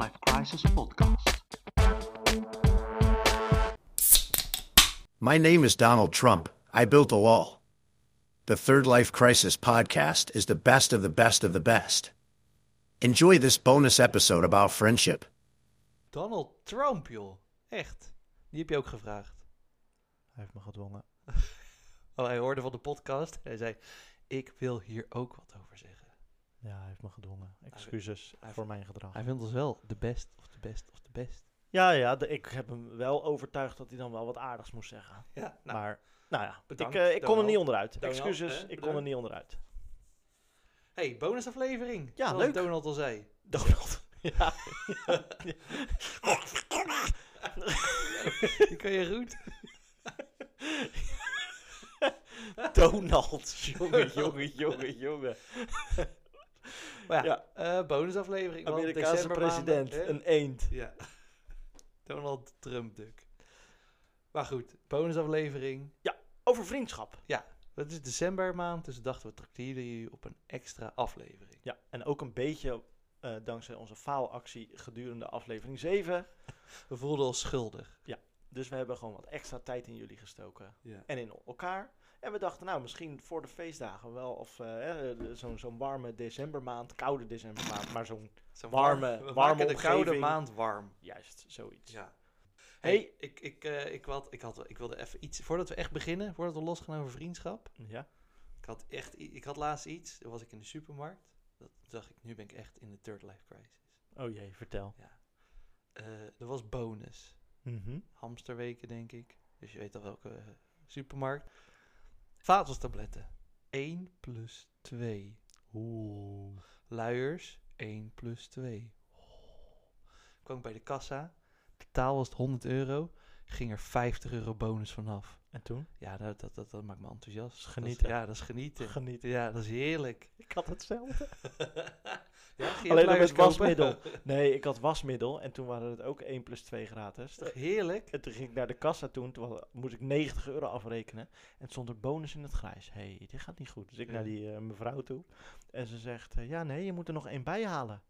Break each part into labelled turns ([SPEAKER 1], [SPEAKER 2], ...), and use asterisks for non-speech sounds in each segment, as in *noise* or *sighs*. [SPEAKER 1] Christelse podcast.
[SPEAKER 2] My name is Donald Trump. I built the wall. The Third Life Crisis podcast is the best of the best of the best. Enjoy this bonus episode about friendship.
[SPEAKER 3] Donald Trump, joh. Echt. Die heb je ook gevraagd.
[SPEAKER 4] Hij heeft me gedwongen.
[SPEAKER 3] Oh, hij hoorde van de podcast en hij zei, ik wil hier ook wat over zeggen.
[SPEAKER 4] Ja, hij heeft me gedwongen. Excuses
[SPEAKER 3] hij-
[SPEAKER 4] voor mijn gedrag.
[SPEAKER 3] Hij vindt ons wel de best of de best of de best.
[SPEAKER 4] Ja, ja, de- ik heb hem wel overtuigd dat hij dan wel wat aardigs moest zeggen.
[SPEAKER 3] Ja,
[SPEAKER 4] maar, nou ja,
[SPEAKER 3] bedankt,
[SPEAKER 4] ik, eh, ik kon er
[SPEAKER 3] Donald.
[SPEAKER 4] niet onderuit.
[SPEAKER 3] Donald,
[SPEAKER 4] Excuses,
[SPEAKER 3] hè,
[SPEAKER 4] ik kon er
[SPEAKER 3] bedankt.
[SPEAKER 4] niet
[SPEAKER 3] *laughs*
[SPEAKER 4] onderuit.
[SPEAKER 3] hey, bonusaflevering.
[SPEAKER 4] Ja,
[SPEAKER 3] zoals
[SPEAKER 4] leuk.
[SPEAKER 3] Donald al *laughs* zei.
[SPEAKER 4] Donald. ja.
[SPEAKER 3] *laughs* Die kan je *laughs* goed.
[SPEAKER 4] Donald. Jongen, jongen, jongen, jongen.
[SPEAKER 3] Maar ja,
[SPEAKER 4] Ja.
[SPEAKER 3] eh, bonusaflevering. want
[SPEAKER 4] *laughs* Amerikaanse
[SPEAKER 3] december maanden,
[SPEAKER 4] president.
[SPEAKER 3] hè?
[SPEAKER 4] Een eend.
[SPEAKER 3] Ja. *laughs* Donald Trump, duk. Maar goed, bonusaflevering.
[SPEAKER 4] Over vriendschap.
[SPEAKER 3] Dat is decembermaand, dus dachten we tracteren jullie op een extra aflevering.
[SPEAKER 4] Ja, en ook een beetje eh, dankzij onze faalactie gedurende aflevering 7.
[SPEAKER 3] We voelden ons schuldig.
[SPEAKER 4] Dus we hebben gewoon wat extra tijd in jullie gestoken.
[SPEAKER 3] Ja.
[SPEAKER 4] en in elkaar. En we dachten, nou, misschien voor de feestdagen wel. Of eh, eh, zo'n zo'n warme decembermaand, koude decembermaand, maar zo'n...
[SPEAKER 3] *laughs* Zo'n
[SPEAKER 4] Warme-
[SPEAKER 3] warm- we
[SPEAKER 4] warme
[SPEAKER 3] maken de koude
[SPEAKER 4] omgeving.
[SPEAKER 3] maand warm.
[SPEAKER 4] Juist, zoiets.
[SPEAKER 3] Ja. Hey,
[SPEAKER 4] Hey.
[SPEAKER 3] ik, ik, eh, ik, had, ik, had, ik wilde even iets... Voordat we echt beginnen, voordat we losgaan over vriendschap.
[SPEAKER 4] Ja?
[SPEAKER 3] Ik had, echt, i- ik had laatst iets, toen was ik in de supermarkt. Dat dacht ik, nu ben ik echt in de third life crisis.
[SPEAKER 4] Oh jee, vertel.
[SPEAKER 3] Eh, er was bonus.
[SPEAKER 4] Mhm.
[SPEAKER 3] Hamsterweken, denk ik. Dus je weet al welke eh, supermarkt. Vatelstabletten. 1 plus 2.
[SPEAKER 4] Oeh.
[SPEAKER 3] Luiers, 1 plus 2. Ik kwam bij de kassa. Totaal was het 100 euro. Ging er 50 euro bonus vanaf.
[SPEAKER 4] En toen?
[SPEAKER 3] Ja, dat, dat, dat, dat maakt me enthousiast. Dat is-
[SPEAKER 4] genieten.
[SPEAKER 3] ja, dat is genieten.
[SPEAKER 4] Genieten.
[SPEAKER 3] Ja, dat is
[SPEAKER 4] *laughs*
[SPEAKER 3] heerlijk.
[SPEAKER 4] Ik had hetzelfde.
[SPEAKER 3] ja, ging je
[SPEAKER 4] Alleen dan
[SPEAKER 3] luiers
[SPEAKER 4] met
[SPEAKER 3] kopen?
[SPEAKER 4] wasmiddel. Nee, ik had wasmiddel en toen waren het ook 1 plus 2 gratis.
[SPEAKER 3] Toch heerlijk?
[SPEAKER 4] En toen ging ik naar de kassa toen, toen wa- moest ik 90 euro afrekenen. En het stond er bonus in het grijs. Hé, hey, dit gaat niet goed. Dus ik
[SPEAKER 3] Ja.
[SPEAKER 4] naar die eh, mevrouw toe. En ze zegt, eh, ja nee, je moet er nog één bij halen.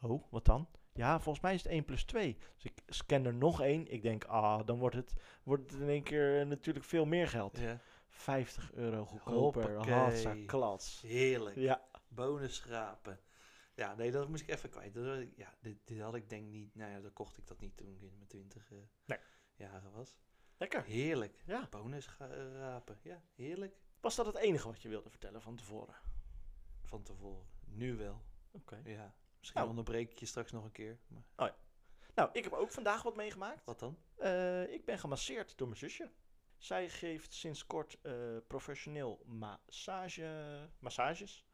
[SPEAKER 4] Oh, wat dan? Ja, volgens mij is het 1 plus 2. Dus ik scan er nog één. Ik denk, ah, dan wordt het, wordt het in één keer eh, natuurlijk veel meer geld.
[SPEAKER 3] Ja,
[SPEAKER 4] 50 euro goedkoper.
[SPEAKER 3] Hoppakee.
[SPEAKER 4] Hatsa, klats.
[SPEAKER 3] heerlijk.
[SPEAKER 4] Ja,
[SPEAKER 3] Bonus schrapen. Ja, nee, dat moest ik even kwijt. Dat was- ja, dit, dit had ik denk niet... Nou ja, dan kocht ik dat niet toen ik in mijn 20 eh,
[SPEAKER 4] Nee.
[SPEAKER 3] jaren was.
[SPEAKER 4] lekker.
[SPEAKER 3] Heerlijk.
[SPEAKER 4] Ja.
[SPEAKER 3] Bonus ga- eh, rapen. Ja, heerlijk.
[SPEAKER 4] Was dat het enige wat je wilde vertellen van tevoren?
[SPEAKER 3] Van tevoren. Nu wel.
[SPEAKER 4] Oké.
[SPEAKER 3] Ja. Misschien
[SPEAKER 4] Nou.
[SPEAKER 3] onderbreek ik je straks nog een keer. Maar
[SPEAKER 4] Nou, ik heb ook vandaag wat meegemaakt.
[SPEAKER 3] wat dan?
[SPEAKER 4] Eh, ik ben gemasseerd door mijn zusje. Zij geeft sinds kort eh, professioneel massage, massages.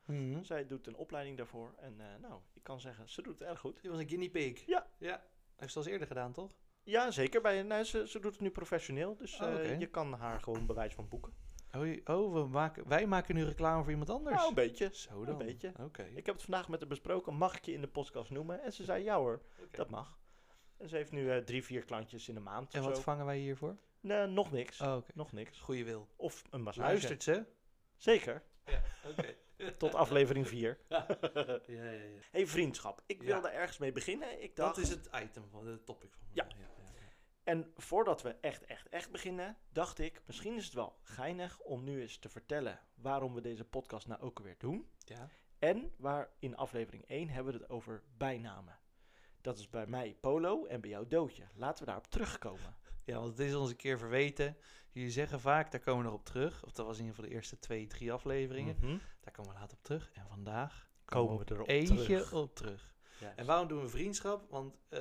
[SPEAKER 4] Zij doet een opleiding daarvoor. En eh, nou, ik kan zeggen, ze doet het erg goed.
[SPEAKER 3] Die was een guinea pig.
[SPEAKER 4] Ja.
[SPEAKER 3] Ja. Heeft ze al eens eerder gedaan, toch?
[SPEAKER 4] Ja, zeker. Bij, nou, ze, ze doet het nu professioneel. Dus
[SPEAKER 3] Oh,
[SPEAKER 4] eh,
[SPEAKER 3] oké.
[SPEAKER 4] je kan haar gewoon bewijs van boeken.
[SPEAKER 3] Oh, je- oh we maken, wij maken nu reclame voor iemand anders.
[SPEAKER 4] Nou, een beetje.
[SPEAKER 3] Zo dan.
[SPEAKER 4] een beetje.
[SPEAKER 3] Oké.
[SPEAKER 4] Ik heb het vandaag met haar besproken. Mag ik je in de podcast noemen? En ze zei, ja hoor,
[SPEAKER 3] Oké.
[SPEAKER 4] dat mag. En ze heeft nu eh, drie, vier klantjes in de maand.
[SPEAKER 3] En
[SPEAKER 4] of
[SPEAKER 3] wat
[SPEAKER 4] zo.
[SPEAKER 3] vangen wij hiervoor?
[SPEAKER 4] Nee, nog niks.
[SPEAKER 3] Oh, oké.
[SPEAKER 4] Nog niks.
[SPEAKER 3] Goeie wil.
[SPEAKER 4] Of een massage.
[SPEAKER 3] Luistert ze?
[SPEAKER 4] Zeker.
[SPEAKER 3] Ja, oké.
[SPEAKER 4] Tot aflevering 4.
[SPEAKER 3] ja, ja, ja.
[SPEAKER 4] Hey, vriendschap. Ik
[SPEAKER 3] Ja.
[SPEAKER 4] wilde ergens mee beginnen. Ik dacht,
[SPEAKER 3] Dat is het item van de topic van
[SPEAKER 4] Ja.
[SPEAKER 3] vandaag. ja, ja.
[SPEAKER 4] En voordat we echt, echt, echt beginnen, dacht ik, misschien is het wel geinig om nu eens te vertellen waarom we deze podcast nou ook weer doen.
[SPEAKER 3] Ja.
[SPEAKER 4] En waar in aflevering 1 hebben we het over bijnamen. Dat is bij mij Polo en bij jou Doodje. Laten we daarop terugkomen.
[SPEAKER 3] Ja, want het is ons een keer verweten. Jullie zeggen vaak, daar komen we nog op terug. Of dat was in ieder geval de eerste twee, drie afleveringen. Daar komen we later op terug. En vandaag
[SPEAKER 4] Mhm. Komen we erop
[SPEAKER 3] eentje
[SPEAKER 4] terug.
[SPEAKER 3] op terug.
[SPEAKER 4] Ja.
[SPEAKER 3] En waarom doen we vriendschap? Want eh,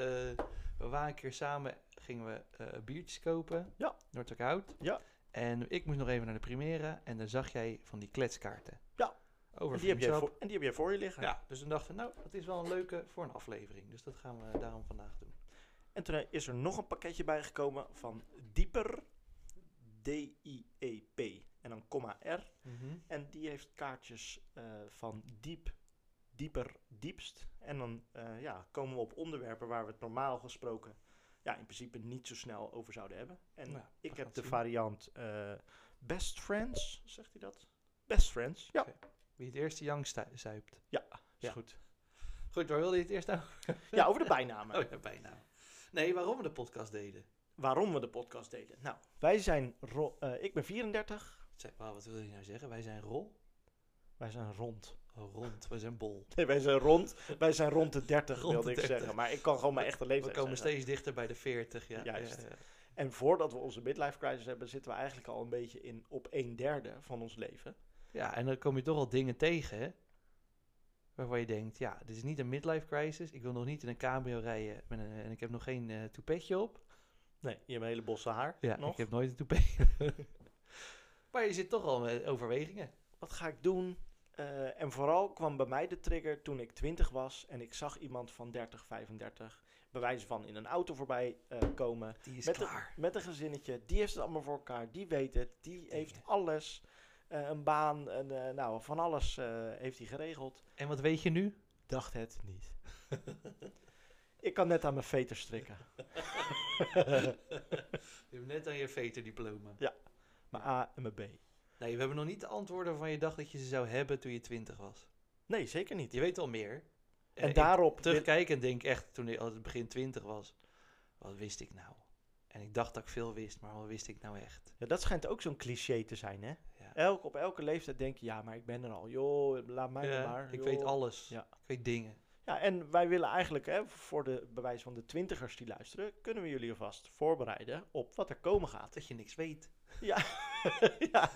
[SPEAKER 3] we waren een keer samen, gingen we eh, biertjes kopen.
[SPEAKER 4] Ja.
[SPEAKER 3] Noordhout.
[SPEAKER 4] Ja.
[SPEAKER 3] En ik moest nog even naar de Primera. En daar zag jij van die kletskaarten.
[SPEAKER 4] Ja.
[SPEAKER 3] Over
[SPEAKER 4] En, die heb jij
[SPEAKER 3] vriendschap.
[SPEAKER 4] voor, en die heb jij voor je liggen.
[SPEAKER 3] Ja, dus toen dachten we, nou, dat is wel een leuke voor een aflevering. Dus dat gaan we daarom vandaag doen.
[SPEAKER 4] En toen eh, is er nog een pakketje bijgekomen van Dieper, D-I-E-P, en dan komma R.
[SPEAKER 3] Mhm.
[SPEAKER 4] En die heeft kaartjes eh, van diep, dieper, diepst. En dan eh, ja, komen we op onderwerpen waar we het normaal gesproken ja, in principe niet zo snel over zouden hebben. En
[SPEAKER 3] Nou, we
[SPEAKER 4] ik
[SPEAKER 3] gaan
[SPEAKER 4] heb
[SPEAKER 3] het
[SPEAKER 4] de
[SPEAKER 3] zien.
[SPEAKER 4] variant eh, best friends, zegt hij dat? Best friends, ja.
[SPEAKER 3] Wie het eerste Yang zuipt.
[SPEAKER 4] Is
[SPEAKER 3] Ja.
[SPEAKER 4] goed.
[SPEAKER 3] Goed, waar wilde je het eerst over?
[SPEAKER 4] Ja, over de bijnamen.
[SPEAKER 3] *laughs* Oh ja, bijna. Nee, waarom we de podcast deden.
[SPEAKER 4] Waarom we de podcast deden. Nou, wij zijn... ro- eh, ik ben 34.
[SPEAKER 3] Zeg maar, wat wil je nou zeggen? Wij zijn rol,
[SPEAKER 4] Wij zijn rond. *laughs*
[SPEAKER 3] rond, wij zijn bol.
[SPEAKER 4] Nee, wij zijn rond. Wij zijn rond de
[SPEAKER 3] Rond
[SPEAKER 4] 30,
[SPEAKER 3] de
[SPEAKER 4] wilde ik
[SPEAKER 3] 30.
[SPEAKER 4] zeggen. Maar ik kan gewoon mijn echte
[SPEAKER 3] We
[SPEAKER 4] leeftijd
[SPEAKER 3] komen
[SPEAKER 4] zeggen.
[SPEAKER 3] steeds dichter bij de 40. Ja,
[SPEAKER 4] Juist.
[SPEAKER 3] ja, ja.
[SPEAKER 4] En voordat we onze midlife crisis hebben, zitten we eigenlijk al een beetje in op een derde van ons leven.
[SPEAKER 3] Ja, en dan kom je toch al dingen tegen hè, waarvan je denkt, ja, dit is niet een midlife crisis. Ik wil nog niet in een cabrio rijden met een- en ik heb nog geen eh toepetje op.
[SPEAKER 4] Nee, je hebt een hele bosse haar
[SPEAKER 3] Ja,
[SPEAKER 4] nog.
[SPEAKER 3] ik heb nooit een toupet. *laughs* maar je zit toch al met overwegingen.
[SPEAKER 4] Wat ga ik doen? Eh, en vooral kwam bij mij de trigger toen ik 20 was en ik zag iemand van 30, 35, bij wijze van in een auto voorbij eh, komen.
[SPEAKER 3] Die is
[SPEAKER 4] Met een,
[SPEAKER 3] klaar.
[SPEAKER 4] met een gezinnetje, die heeft het allemaal voor elkaar, die weet het, die heeft
[SPEAKER 3] Dingen.
[SPEAKER 4] alles. Eh, een baan, een, eh, nou van alles eh, heeft hij geregeld.
[SPEAKER 3] En wat weet je nu?
[SPEAKER 4] Dacht het niet. *laughs* ik kan net aan mijn veter strikken.
[SPEAKER 3] Je hebt net aan je veterdiploma.
[SPEAKER 4] Mijn A en mijn B.
[SPEAKER 3] Nee, we hebben nog niet de antwoorden waarvan je dacht dat je ze zou hebben toen je 20 was.
[SPEAKER 4] Nee, zeker niet.
[SPEAKER 3] Je weet al meer. Eh,
[SPEAKER 4] En
[SPEAKER 3] ik
[SPEAKER 4] daarop... wil-
[SPEAKER 3] terugkijk en denk echt, toen ik als het begin 20 was, wat wist ik nou? En ik dacht dat ik veel wist, maar wat wist ik nou echt?
[SPEAKER 4] Ja, dat schijnt ook zo'n cliché te zijn, hè?
[SPEAKER 3] Ja.
[SPEAKER 4] Elk, op elke leeftijd denk je, ja, maar ik ben er al. Joh, laat mij
[SPEAKER 3] Ja,
[SPEAKER 4] dan maar.
[SPEAKER 3] ik
[SPEAKER 4] joh.
[SPEAKER 3] weet alles.
[SPEAKER 4] Ja.
[SPEAKER 3] Ik weet dingen.
[SPEAKER 4] Ja, en wij willen eigenlijk, hè, voor de bewijs van de twintigers die luisteren, kunnen we jullie alvast voorbereiden op wat er komen gaat. *laughs*
[SPEAKER 3] Dat je niks weet.
[SPEAKER 4] ja,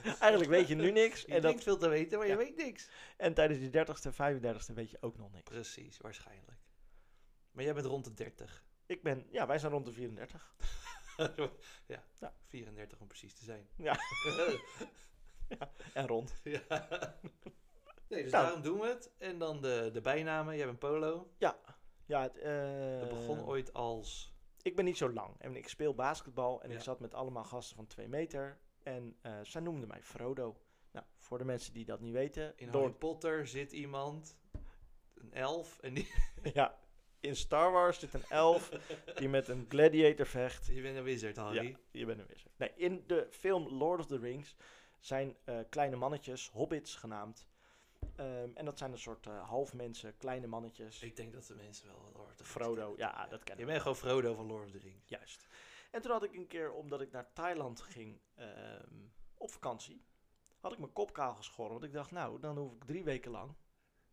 [SPEAKER 4] eigenlijk weet je nu
[SPEAKER 3] *laughs*
[SPEAKER 4] niks.
[SPEAKER 3] Je en
[SPEAKER 4] En,
[SPEAKER 3] denkt
[SPEAKER 4] dat,
[SPEAKER 3] veel te weten, maar je
[SPEAKER 4] Ja.
[SPEAKER 3] weet niks.
[SPEAKER 4] en tijdens die dertigste, vijfendertigste weet je ook nog niks.
[SPEAKER 3] Precies, waarschijnlijk. Maar jij bent rond de
[SPEAKER 4] *laughs*
[SPEAKER 3] 30.
[SPEAKER 4] Ik ben, ja, wij zijn rond de 34.
[SPEAKER 3] ja,
[SPEAKER 4] Ja.
[SPEAKER 3] 34 om precies te zijn.
[SPEAKER 4] Ja.
[SPEAKER 3] *laughs*
[SPEAKER 4] En rond.
[SPEAKER 3] Ja. *laughs* Nee, dus
[SPEAKER 4] Nou.
[SPEAKER 3] daarom doen we het. En dan de, de bijnamen. Jij bent Polo.
[SPEAKER 4] Ja, het,
[SPEAKER 3] Dat
[SPEAKER 4] eh,
[SPEAKER 3] begon ooit als...
[SPEAKER 4] Ik ben niet zo lang en ik speel basketbal en
[SPEAKER 3] Ja.
[SPEAKER 4] ik zat met allemaal gasten van 2 meter. En eh, zij noemden mij Frodo. Nou, voor de mensen die dat niet weten,
[SPEAKER 3] In
[SPEAKER 4] door,
[SPEAKER 3] Harry Potter zit iemand, een elf, en die, *laughs*
[SPEAKER 4] *laughs* ja, in Star Wars zit een elf die met een gladiator vecht.
[SPEAKER 3] je bent een wizard, Harry.
[SPEAKER 4] Ja, je bent een wizard. Nee, in de film Lord of the Rings zijn eh, kleine mannetjes, hobbits genaamd. Ehm, en dat zijn een soort eh, half mensen, kleine mannetjes.
[SPEAKER 3] Ik denk dat de mensen wel Lord of the Rings
[SPEAKER 4] Frodo,
[SPEAKER 3] kennen.
[SPEAKER 4] ja, dat ken
[SPEAKER 3] Je
[SPEAKER 4] ik.
[SPEAKER 3] bent gewoon Frodo van Lord of the Rings.
[SPEAKER 4] Juist. En toen had ik een keer, omdat ik naar Thailand ging ehm, op vakantie, had ik mijn kop kaal geschoren. Want ik dacht, nou, dan hoef ik drie weken lang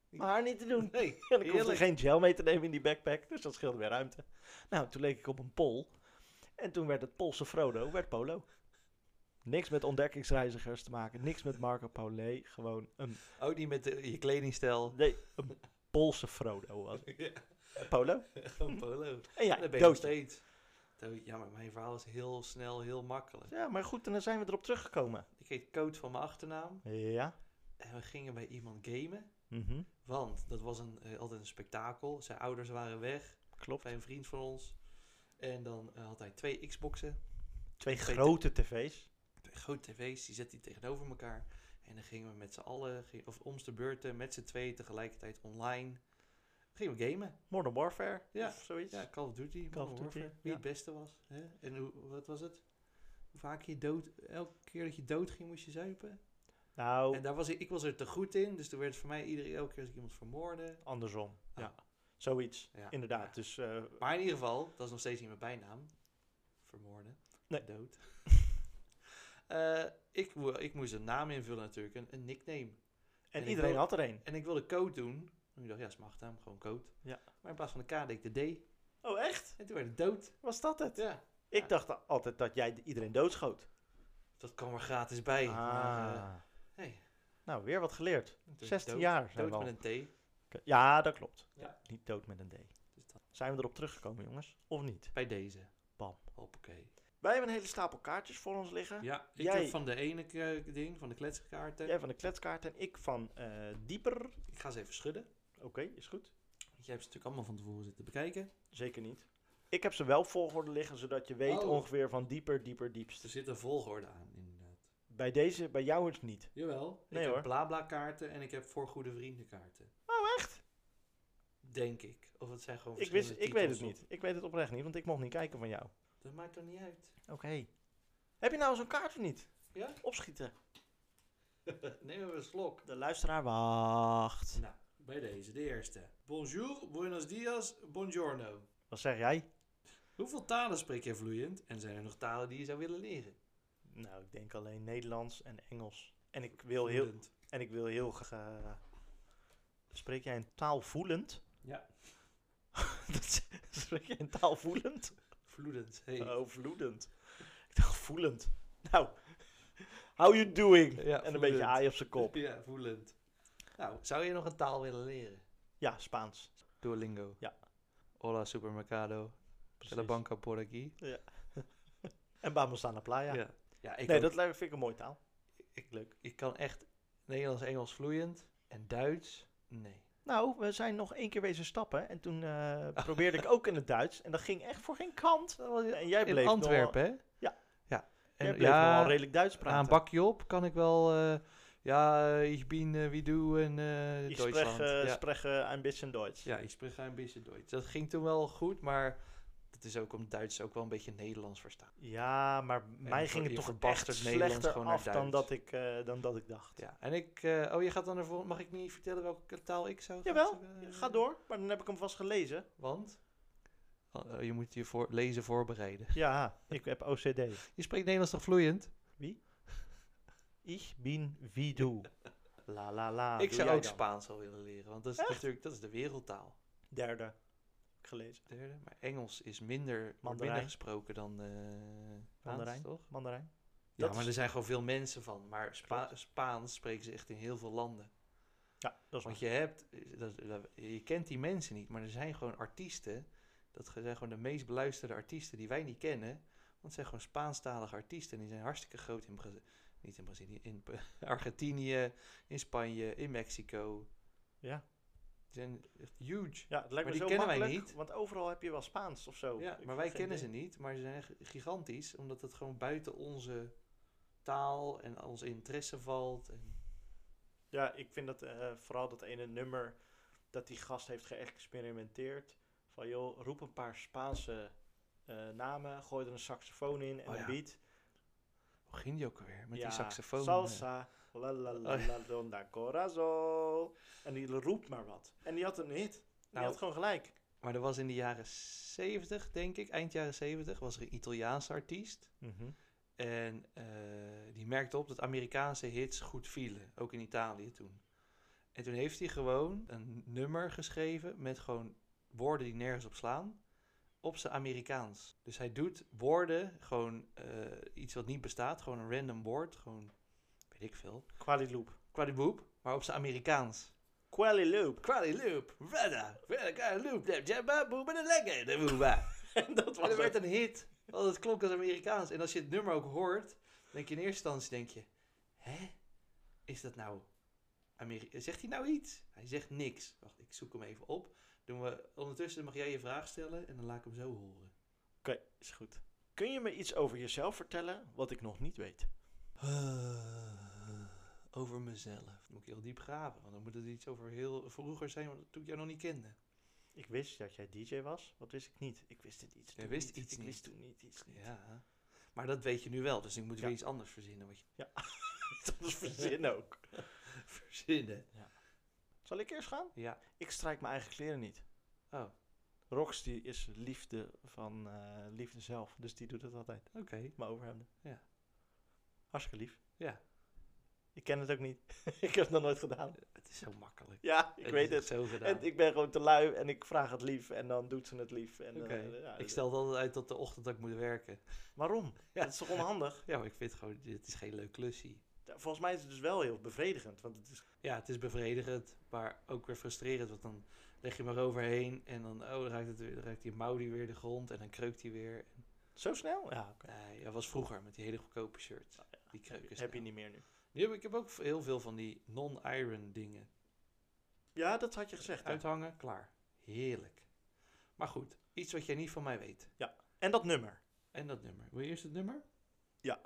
[SPEAKER 4] mijn haar niet te *laughs* doen.
[SPEAKER 3] Nee,
[SPEAKER 4] En ik hoefde
[SPEAKER 3] heerlijk.
[SPEAKER 4] geen gel mee te nemen in die backpack, dus dat scheelde weer ruimte. Nou, toen leek ik op een pol. En toen werd het Poolse Frodo, werd Polo. Niks met ontdekkingsreizigers te maken, niks met Marco Polo, gewoon een,
[SPEAKER 3] Ook niet met de- je kledingstijl.
[SPEAKER 4] *laughs* nee, een Poolse Frodo was het.
[SPEAKER 3] Ja, *laughs*
[SPEAKER 4] Polo.
[SPEAKER 3] gewoon Polo.
[SPEAKER 4] En ja,
[SPEAKER 3] Dat ben je nog
[SPEAKER 4] doodje.
[SPEAKER 3] steeds. Dood- Ja, maar mijn verhaal is heel snel, heel makkelijk.
[SPEAKER 4] Ja, maar goed, en dan zijn we erop teruggekomen.
[SPEAKER 3] Ik heet Coat van mijn achternaam.
[SPEAKER 4] Ja.
[SPEAKER 3] En we gingen bij iemand gamen.
[SPEAKER 4] Mhm.
[SPEAKER 3] Want dat was een, eh, altijd een spektakel. Zijn ouders waren weg.
[SPEAKER 4] Klopt.
[SPEAKER 3] Bij een vriend van ons. En dan eh, had hij twee Xboxen.
[SPEAKER 4] Twee
[SPEAKER 3] Twee
[SPEAKER 4] grote tv's.
[SPEAKER 3] Twee grote tv's. Die zette hij tegenover elkaar. En dan gingen we met z'n allen, ging- of om de beurten, met z'n twee tegelijkertijd online. Gingen we gamen.
[SPEAKER 4] Modern Warfare
[SPEAKER 3] Ja.
[SPEAKER 4] of zoiets.
[SPEAKER 3] Ja, Call of Duty.
[SPEAKER 4] Call of
[SPEAKER 3] Modern
[SPEAKER 4] Duty,
[SPEAKER 3] Warfare, Wie
[SPEAKER 4] ja.
[SPEAKER 3] het beste was. Hè? En hoe, wat was het? Hoe vaak je dood, elke keer dat je dood ging, moest je zuipen.
[SPEAKER 4] Nou,
[SPEAKER 3] En daar was ik, ik was er te goed in. Dus toen werd het voor mij iedere elke keer als ik iemand vermoorde.
[SPEAKER 4] andersom. Ja.
[SPEAKER 3] Ah.
[SPEAKER 4] Zoiets,
[SPEAKER 3] Ja.
[SPEAKER 4] inderdaad.
[SPEAKER 3] Ja.
[SPEAKER 4] Dus eh,
[SPEAKER 3] Maar in ieder geval, dat is nog steeds niet mijn bijnaam. Vermoorden.
[SPEAKER 4] Nee.
[SPEAKER 3] Dood. *laughs* Eh, ik, mo- ik moest een naam invullen natuurlijk, een, een nickname.
[SPEAKER 4] en
[SPEAKER 3] ik
[SPEAKER 4] iedereen
[SPEAKER 3] wil-
[SPEAKER 4] had er een.
[SPEAKER 3] En ik wilde Code doen. En ik dacht, ja, is mijn achternaam, gewoon Code.
[SPEAKER 4] Ja.
[SPEAKER 3] Maar in plaats van de K deed ik de D.
[SPEAKER 4] Oh, echt?
[SPEAKER 3] En toen werd het dood.
[SPEAKER 4] Was dat het?
[SPEAKER 3] Ja. Ja.
[SPEAKER 4] Ik dacht a- altijd dat jij d- iedereen doodschoot.
[SPEAKER 3] Dat kwam er gratis bij. maar, eh,
[SPEAKER 4] Ah.
[SPEAKER 3] hey.
[SPEAKER 4] Nou, weer wat geleerd.
[SPEAKER 3] toen werd het
[SPEAKER 4] 16
[SPEAKER 3] dood.
[SPEAKER 4] jaar zijn
[SPEAKER 3] Dood
[SPEAKER 4] we al.
[SPEAKER 3] met een T.
[SPEAKER 4] Oké, Ja, dat klopt.
[SPEAKER 3] Ja.
[SPEAKER 4] Niet dood met een D.
[SPEAKER 3] Dus dat-
[SPEAKER 4] Zijn we erop teruggekomen, jongens? Of niet?
[SPEAKER 3] bij deze.
[SPEAKER 4] Bam.
[SPEAKER 3] Hoppakee.
[SPEAKER 4] Wij hebben een hele stapel kaartjes voor ons liggen.
[SPEAKER 3] Ja, ik
[SPEAKER 4] Jij-
[SPEAKER 3] heb van de ene eh, ding, van de kletskaarten.
[SPEAKER 4] Jij van de kletskaart en ik van eh, dieper. Oké,
[SPEAKER 3] Ik ga ze even schudden.
[SPEAKER 4] is goed.
[SPEAKER 3] Want jij hebt ze natuurlijk allemaal van tevoren zitten bekijken.
[SPEAKER 4] Zeker niet. Ik heb ze wel op volgorde liggen, zodat je weet
[SPEAKER 3] Oh.
[SPEAKER 4] ongeveer van dieper, dieper, diepst.
[SPEAKER 3] Dus er zit een volgorde aan, inderdaad.
[SPEAKER 4] Bij deze, bij jou is het niet.
[SPEAKER 3] Jawel.
[SPEAKER 4] Nee,
[SPEAKER 3] ik
[SPEAKER 4] hoor.
[SPEAKER 3] heb blabla kaarten en ik heb voor goede vrienden kaarten.
[SPEAKER 4] Oh, echt?
[SPEAKER 3] Denk ik. Of het zijn gewoon
[SPEAKER 4] Ik, wist,
[SPEAKER 3] verschillende
[SPEAKER 4] ik weet het
[SPEAKER 3] titels
[SPEAKER 4] niet. Ik weet het oprecht niet, want ik mocht niet kijken van jou.
[SPEAKER 3] op- Dat maakt toch niet uit?
[SPEAKER 4] Oké. Heb je nou zo'n kaart of niet?
[SPEAKER 3] Ja? *laughs*
[SPEAKER 4] Opschieten.
[SPEAKER 3] Neem even een slok.
[SPEAKER 4] De luisteraar wacht.
[SPEAKER 3] Nou, Bij deze, de eerste. Bonjour, buenos dias, buongiorno.
[SPEAKER 4] Wat zeg jij?
[SPEAKER 3] Hoeveel talen spreek jij vloeiend en zijn er nog talen die je zou willen leren?
[SPEAKER 4] Nou, ik denk alleen Nederlands en Engels. En ik wil heel,
[SPEAKER 3] Vloeiend.
[SPEAKER 4] en ik wil heel graag... eh, spreek jij een taal voelend?
[SPEAKER 3] Ja,
[SPEAKER 4] *laughs* Dat is- spreek jij een taal voelend?
[SPEAKER 3] vloedend. Hey.
[SPEAKER 4] Oh, vloedend. Ik dacht voelend. Nou, *laughs* how you
[SPEAKER 3] Ja,
[SPEAKER 4] doing? en een
[SPEAKER 3] voelend.
[SPEAKER 4] beetje aai op zijn kop.
[SPEAKER 3] Ja, voelend. Nou, zou je nog een taal willen leren?
[SPEAKER 4] Ja, Spaans.
[SPEAKER 3] Duolingo.
[SPEAKER 4] Ja.
[SPEAKER 3] Hola supermercado. La banca por aquí.
[SPEAKER 4] En Vamos a la playa.
[SPEAKER 3] ja. Ja, ik,
[SPEAKER 4] nee,
[SPEAKER 3] ook.
[SPEAKER 4] dat lijkt- vind ik een mooie taal.
[SPEAKER 3] ik,
[SPEAKER 4] Leuk.
[SPEAKER 3] ik kan echt Nederlands, Engels vloeiend. En Duits? Nee.
[SPEAKER 4] Nou, we zijn nog één keer wezen stappen. En toen
[SPEAKER 3] *laughs*
[SPEAKER 4] eh, probeerde ik ook in het Duits. En dat ging echt voor geen kant. En jij bleef
[SPEAKER 3] In Antwerpen, hè?
[SPEAKER 4] Ja.
[SPEAKER 3] ja.
[SPEAKER 4] Nogal, jij
[SPEAKER 3] En,
[SPEAKER 4] bleef nogal
[SPEAKER 3] ja,
[SPEAKER 4] redelijk Duits
[SPEAKER 3] aan een
[SPEAKER 4] praten.
[SPEAKER 3] bakje op kan ik wel... eh, ja, eh, ik ben eh, wie doe en eh
[SPEAKER 4] ik
[SPEAKER 3] Duitsland.
[SPEAKER 4] spreek, eh,
[SPEAKER 3] ja.
[SPEAKER 4] spreek eh, een beetje Duits.
[SPEAKER 3] ja, ik spreek een beetje Duits. Dat ging toen wel goed, maar... Het is ook om Duits ook wel een beetje Nederlands verstaan.
[SPEAKER 4] Ja, maar mij
[SPEAKER 3] je
[SPEAKER 4] ging
[SPEAKER 3] ver-
[SPEAKER 4] het
[SPEAKER 3] je
[SPEAKER 4] toch echt
[SPEAKER 3] verbastert Nederlands
[SPEAKER 4] slechter
[SPEAKER 3] gewoon naar
[SPEAKER 4] af dan
[SPEAKER 3] Duits.
[SPEAKER 4] dat, ik, eh, dan dat ik dacht.
[SPEAKER 3] Ja, en ik... eh, oh, je gaat dan ervoor... Mag ik niet vertellen welke taal ik zou...
[SPEAKER 4] Jawel,
[SPEAKER 3] eh,
[SPEAKER 4] ga door. Maar dan heb ik hem vast gelezen.
[SPEAKER 3] Want? Oh, je moet je voor, lezen voorbereiden.
[SPEAKER 4] Ja, ik heb
[SPEAKER 3] *laughs*
[SPEAKER 4] OCD.
[SPEAKER 3] Je spreekt Nederlands toch vloeiend?
[SPEAKER 4] Ich bin wie du. La la la.
[SPEAKER 3] ik
[SPEAKER 4] Ah, doe
[SPEAKER 3] zou
[SPEAKER 4] jij
[SPEAKER 3] ook
[SPEAKER 4] dan.
[SPEAKER 3] Spaans al willen leren, want dat is natuurlijk dat is de wereldtaal.
[SPEAKER 4] Derde. Heb ik gelezen.
[SPEAKER 3] Derde, maar Engels is minder, wordt minder
[SPEAKER 4] Mandarijn.
[SPEAKER 3] gesproken dan eh, Spaans,
[SPEAKER 4] Mandarijn.
[SPEAKER 3] toch?
[SPEAKER 4] Mandarijn.
[SPEAKER 3] Ja,
[SPEAKER 4] Dat
[SPEAKER 3] maar
[SPEAKER 4] is-
[SPEAKER 3] er zijn gewoon veel mensen van. Maar Spa-
[SPEAKER 4] Klopt.
[SPEAKER 3] Spaans spreken ze echt in heel veel landen.
[SPEAKER 4] Ja, dat is
[SPEAKER 3] Want
[SPEAKER 4] waar.
[SPEAKER 3] je hebt, eh, dat, dat- je kent die mensen niet, maar er zijn gewoon artiesten. Dat ge- zijn gewoon de meest beluisterde artiesten die wij niet kennen. Want het zijn gewoon Spaanstalige artiesten. En die zijn hartstikke groot in Brazilië. Niet in Brazilië, in P- *laughs* Argentinië, in Spanje, in Mexico.
[SPEAKER 4] Ja.
[SPEAKER 3] Die zijn echt huge.
[SPEAKER 4] Ja, het lijkt
[SPEAKER 3] Maar
[SPEAKER 4] me
[SPEAKER 3] die
[SPEAKER 4] zo
[SPEAKER 3] kennen wij
[SPEAKER 4] makkelijk,
[SPEAKER 3] niet.
[SPEAKER 4] want overal heb je wel Spaans of zo.
[SPEAKER 3] Ja,
[SPEAKER 4] Ik
[SPEAKER 3] maar
[SPEAKER 4] heb
[SPEAKER 3] wij
[SPEAKER 4] geen
[SPEAKER 3] kennen ze
[SPEAKER 4] idee.
[SPEAKER 3] niet, maar ze zijn echt gigantisch. Omdat het gewoon buiten onze taal en onze interesse valt. En
[SPEAKER 4] Ja, ik vind dat eh, vooral dat ene nummer dat die gast heeft geëxperimenteerd. Van joh, roep een paar Spaanse eh, namen, gooi er een saxofoon in en
[SPEAKER 3] Oh ja.
[SPEAKER 4] een beat.
[SPEAKER 3] hoe ging die ook alweer? Met
[SPEAKER 4] Ja,
[SPEAKER 3] die saxofoon. eh. Oh
[SPEAKER 4] Salsa, la la la la donda corazón. En die roept maar wat. En die had een hit. En die
[SPEAKER 3] Nou.
[SPEAKER 4] had gewoon gelijk.
[SPEAKER 3] Maar er was in de jaren 70, denk ik, eind jaren 70, was er een Italiaanse artiest. En eh, die merkte op dat Amerikaanse hits goed vielen, ook in Italië toen. En toen heeft hij gewoon een nummer geschreven met gewoon woorden die nergens op slaan, op zijn Amerikaans. Dus hij doet woorden, gewoon eh, iets wat niet bestaat, gewoon een random woord, gewoon, weet ik veel,
[SPEAKER 4] Qualiloop.
[SPEAKER 3] kwadiboep, maar op zijn Amerikaans.
[SPEAKER 4] Qualiloop.
[SPEAKER 3] Kwadiloop, rada, rada, kwadiloop, jabba, boeba, de lekker, de boeba. *laughs*
[SPEAKER 4] En *laughs* dat
[SPEAKER 3] Maar
[SPEAKER 4] was
[SPEAKER 3] dat werd
[SPEAKER 4] het.
[SPEAKER 3] een hit. Want het klonk als Amerikaans. En als je het nummer ook hoort, denk je in eerste instantie, denk je... Hè? Is dat nou... Ameri zegt hij nou iets? Hij zegt niks. Wacht, ik zoek hem even op. Doen we, ondertussen mag jij je vraag stellen en dan laat ik hem zo horen.
[SPEAKER 4] Oké, is goed. Kun je me iets over jezelf vertellen wat ik nog niet weet?
[SPEAKER 3] *sighs* Over mezelf. Moet ik heel diep graven, want dan moet het iets over heel vroeger zijn, want toen ik jou nog niet kende.
[SPEAKER 4] Ik wist dat jij DJ was. Wat wist ik niet? Ik wist het iets.
[SPEAKER 3] Jij
[SPEAKER 4] toen
[SPEAKER 3] wist
[SPEAKER 4] niet.
[SPEAKER 3] iets
[SPEAKER 4] ik wist
[SPEAKER 3] niet.
[SPEAKER 4] toen niet iets. Niet. *laughs*
[SPEAKER 3] Ja. Maar dat weet je nu wel, dus ik moet
[SPEAKER 4] Ja.
[SPEAKER 3] weer iets anders verzinnen. Wat je *laughs*
[SPEAKER 4] Dat was verzin ook.
[SPEAKER 3] verzinnen.
[SPEAKER 4] Zal ik eerst gaan?
[SPEAKER 3] Ja.
[SPEAKER 4] Ik strijk mijn eigen kleren niet.
[SPEAKER 3] Oh, oké.
[SPEAKER 4] Rox die is liefde van eh, liefde zelf. Dus die doet het altijd. Maar overhemden.
[SPEAKER 3] Ja.
[SPEAKER 4] Hartstikke lief.
[SPEAKER 3] Ja.
[SPEAKER 4] Ik ken het ook niet. *laughs* ik heb het nog nooit gedaan.
[SPEAKER 3] Het is zo makkelijk.
[SPEAKER 4] Ja, ik weet
[SPEAKER 3] is
[SPEAKER 4] het.
[SPEAKER 3] Zo gedaan.
[SPEAKER 4] En ik ben gewoon te lui en ik vraag het lief en dan doet ze het lief. En dan,
[SPEAKER 3] Oké.
[SPEAKER 4] eh, ja,
[SPEAKER 3] Ik stel altijd uit tot de ochtend dat ik moet werken.
[SPEAKER 4] Waarom?
[SPEAKER 3] Ja.
[SPEAKER 4] Dat is toch onhandig?
[SPEAKER 3] Ja, maar ik vind gewoon, dit is geen leuk klusje.
[SPEAKER 4] Ja, Volgens mij is het dus wel heel bevredigend. Want het is,
[SPEAKER 3] Ja, het is bevredigend, maar ook weer frustrerend. Want dan leg je hem eroverheen en dan, oh, dan raakt, het, weer- dan raakt die mouw die weer de grond en dan kreukt hij weer.
[SPEAKER 4] zo snel? Ja, oké. Ah,
[SPEAKER 3] Nee, dat was vroeger met die hele goedkope shirts. Die
[SPEAKER 4] Heb,
[SPEAKER 3] kreuken
[SPEAKER 4] je- heb je
[SPEAKER 3] snel.
[SPEAKER 4] niet meer nu.
[SPEAKER 3] Nu heb ik, ik heb ook heel veel van die non-iron dingen.
[SPEAKER 4] Ja, dat had je gezegd. hè?
[SPEAKER 3] Uithangen, klaar. Heerlijk. Maar goed, iets wat jij niet van mij weet.
[SPEAKER 4] En dat nummer.
[SPEAKER 3] En dat nummer. Wil je eerst het nummer?
[SPEAKER 4] Ja.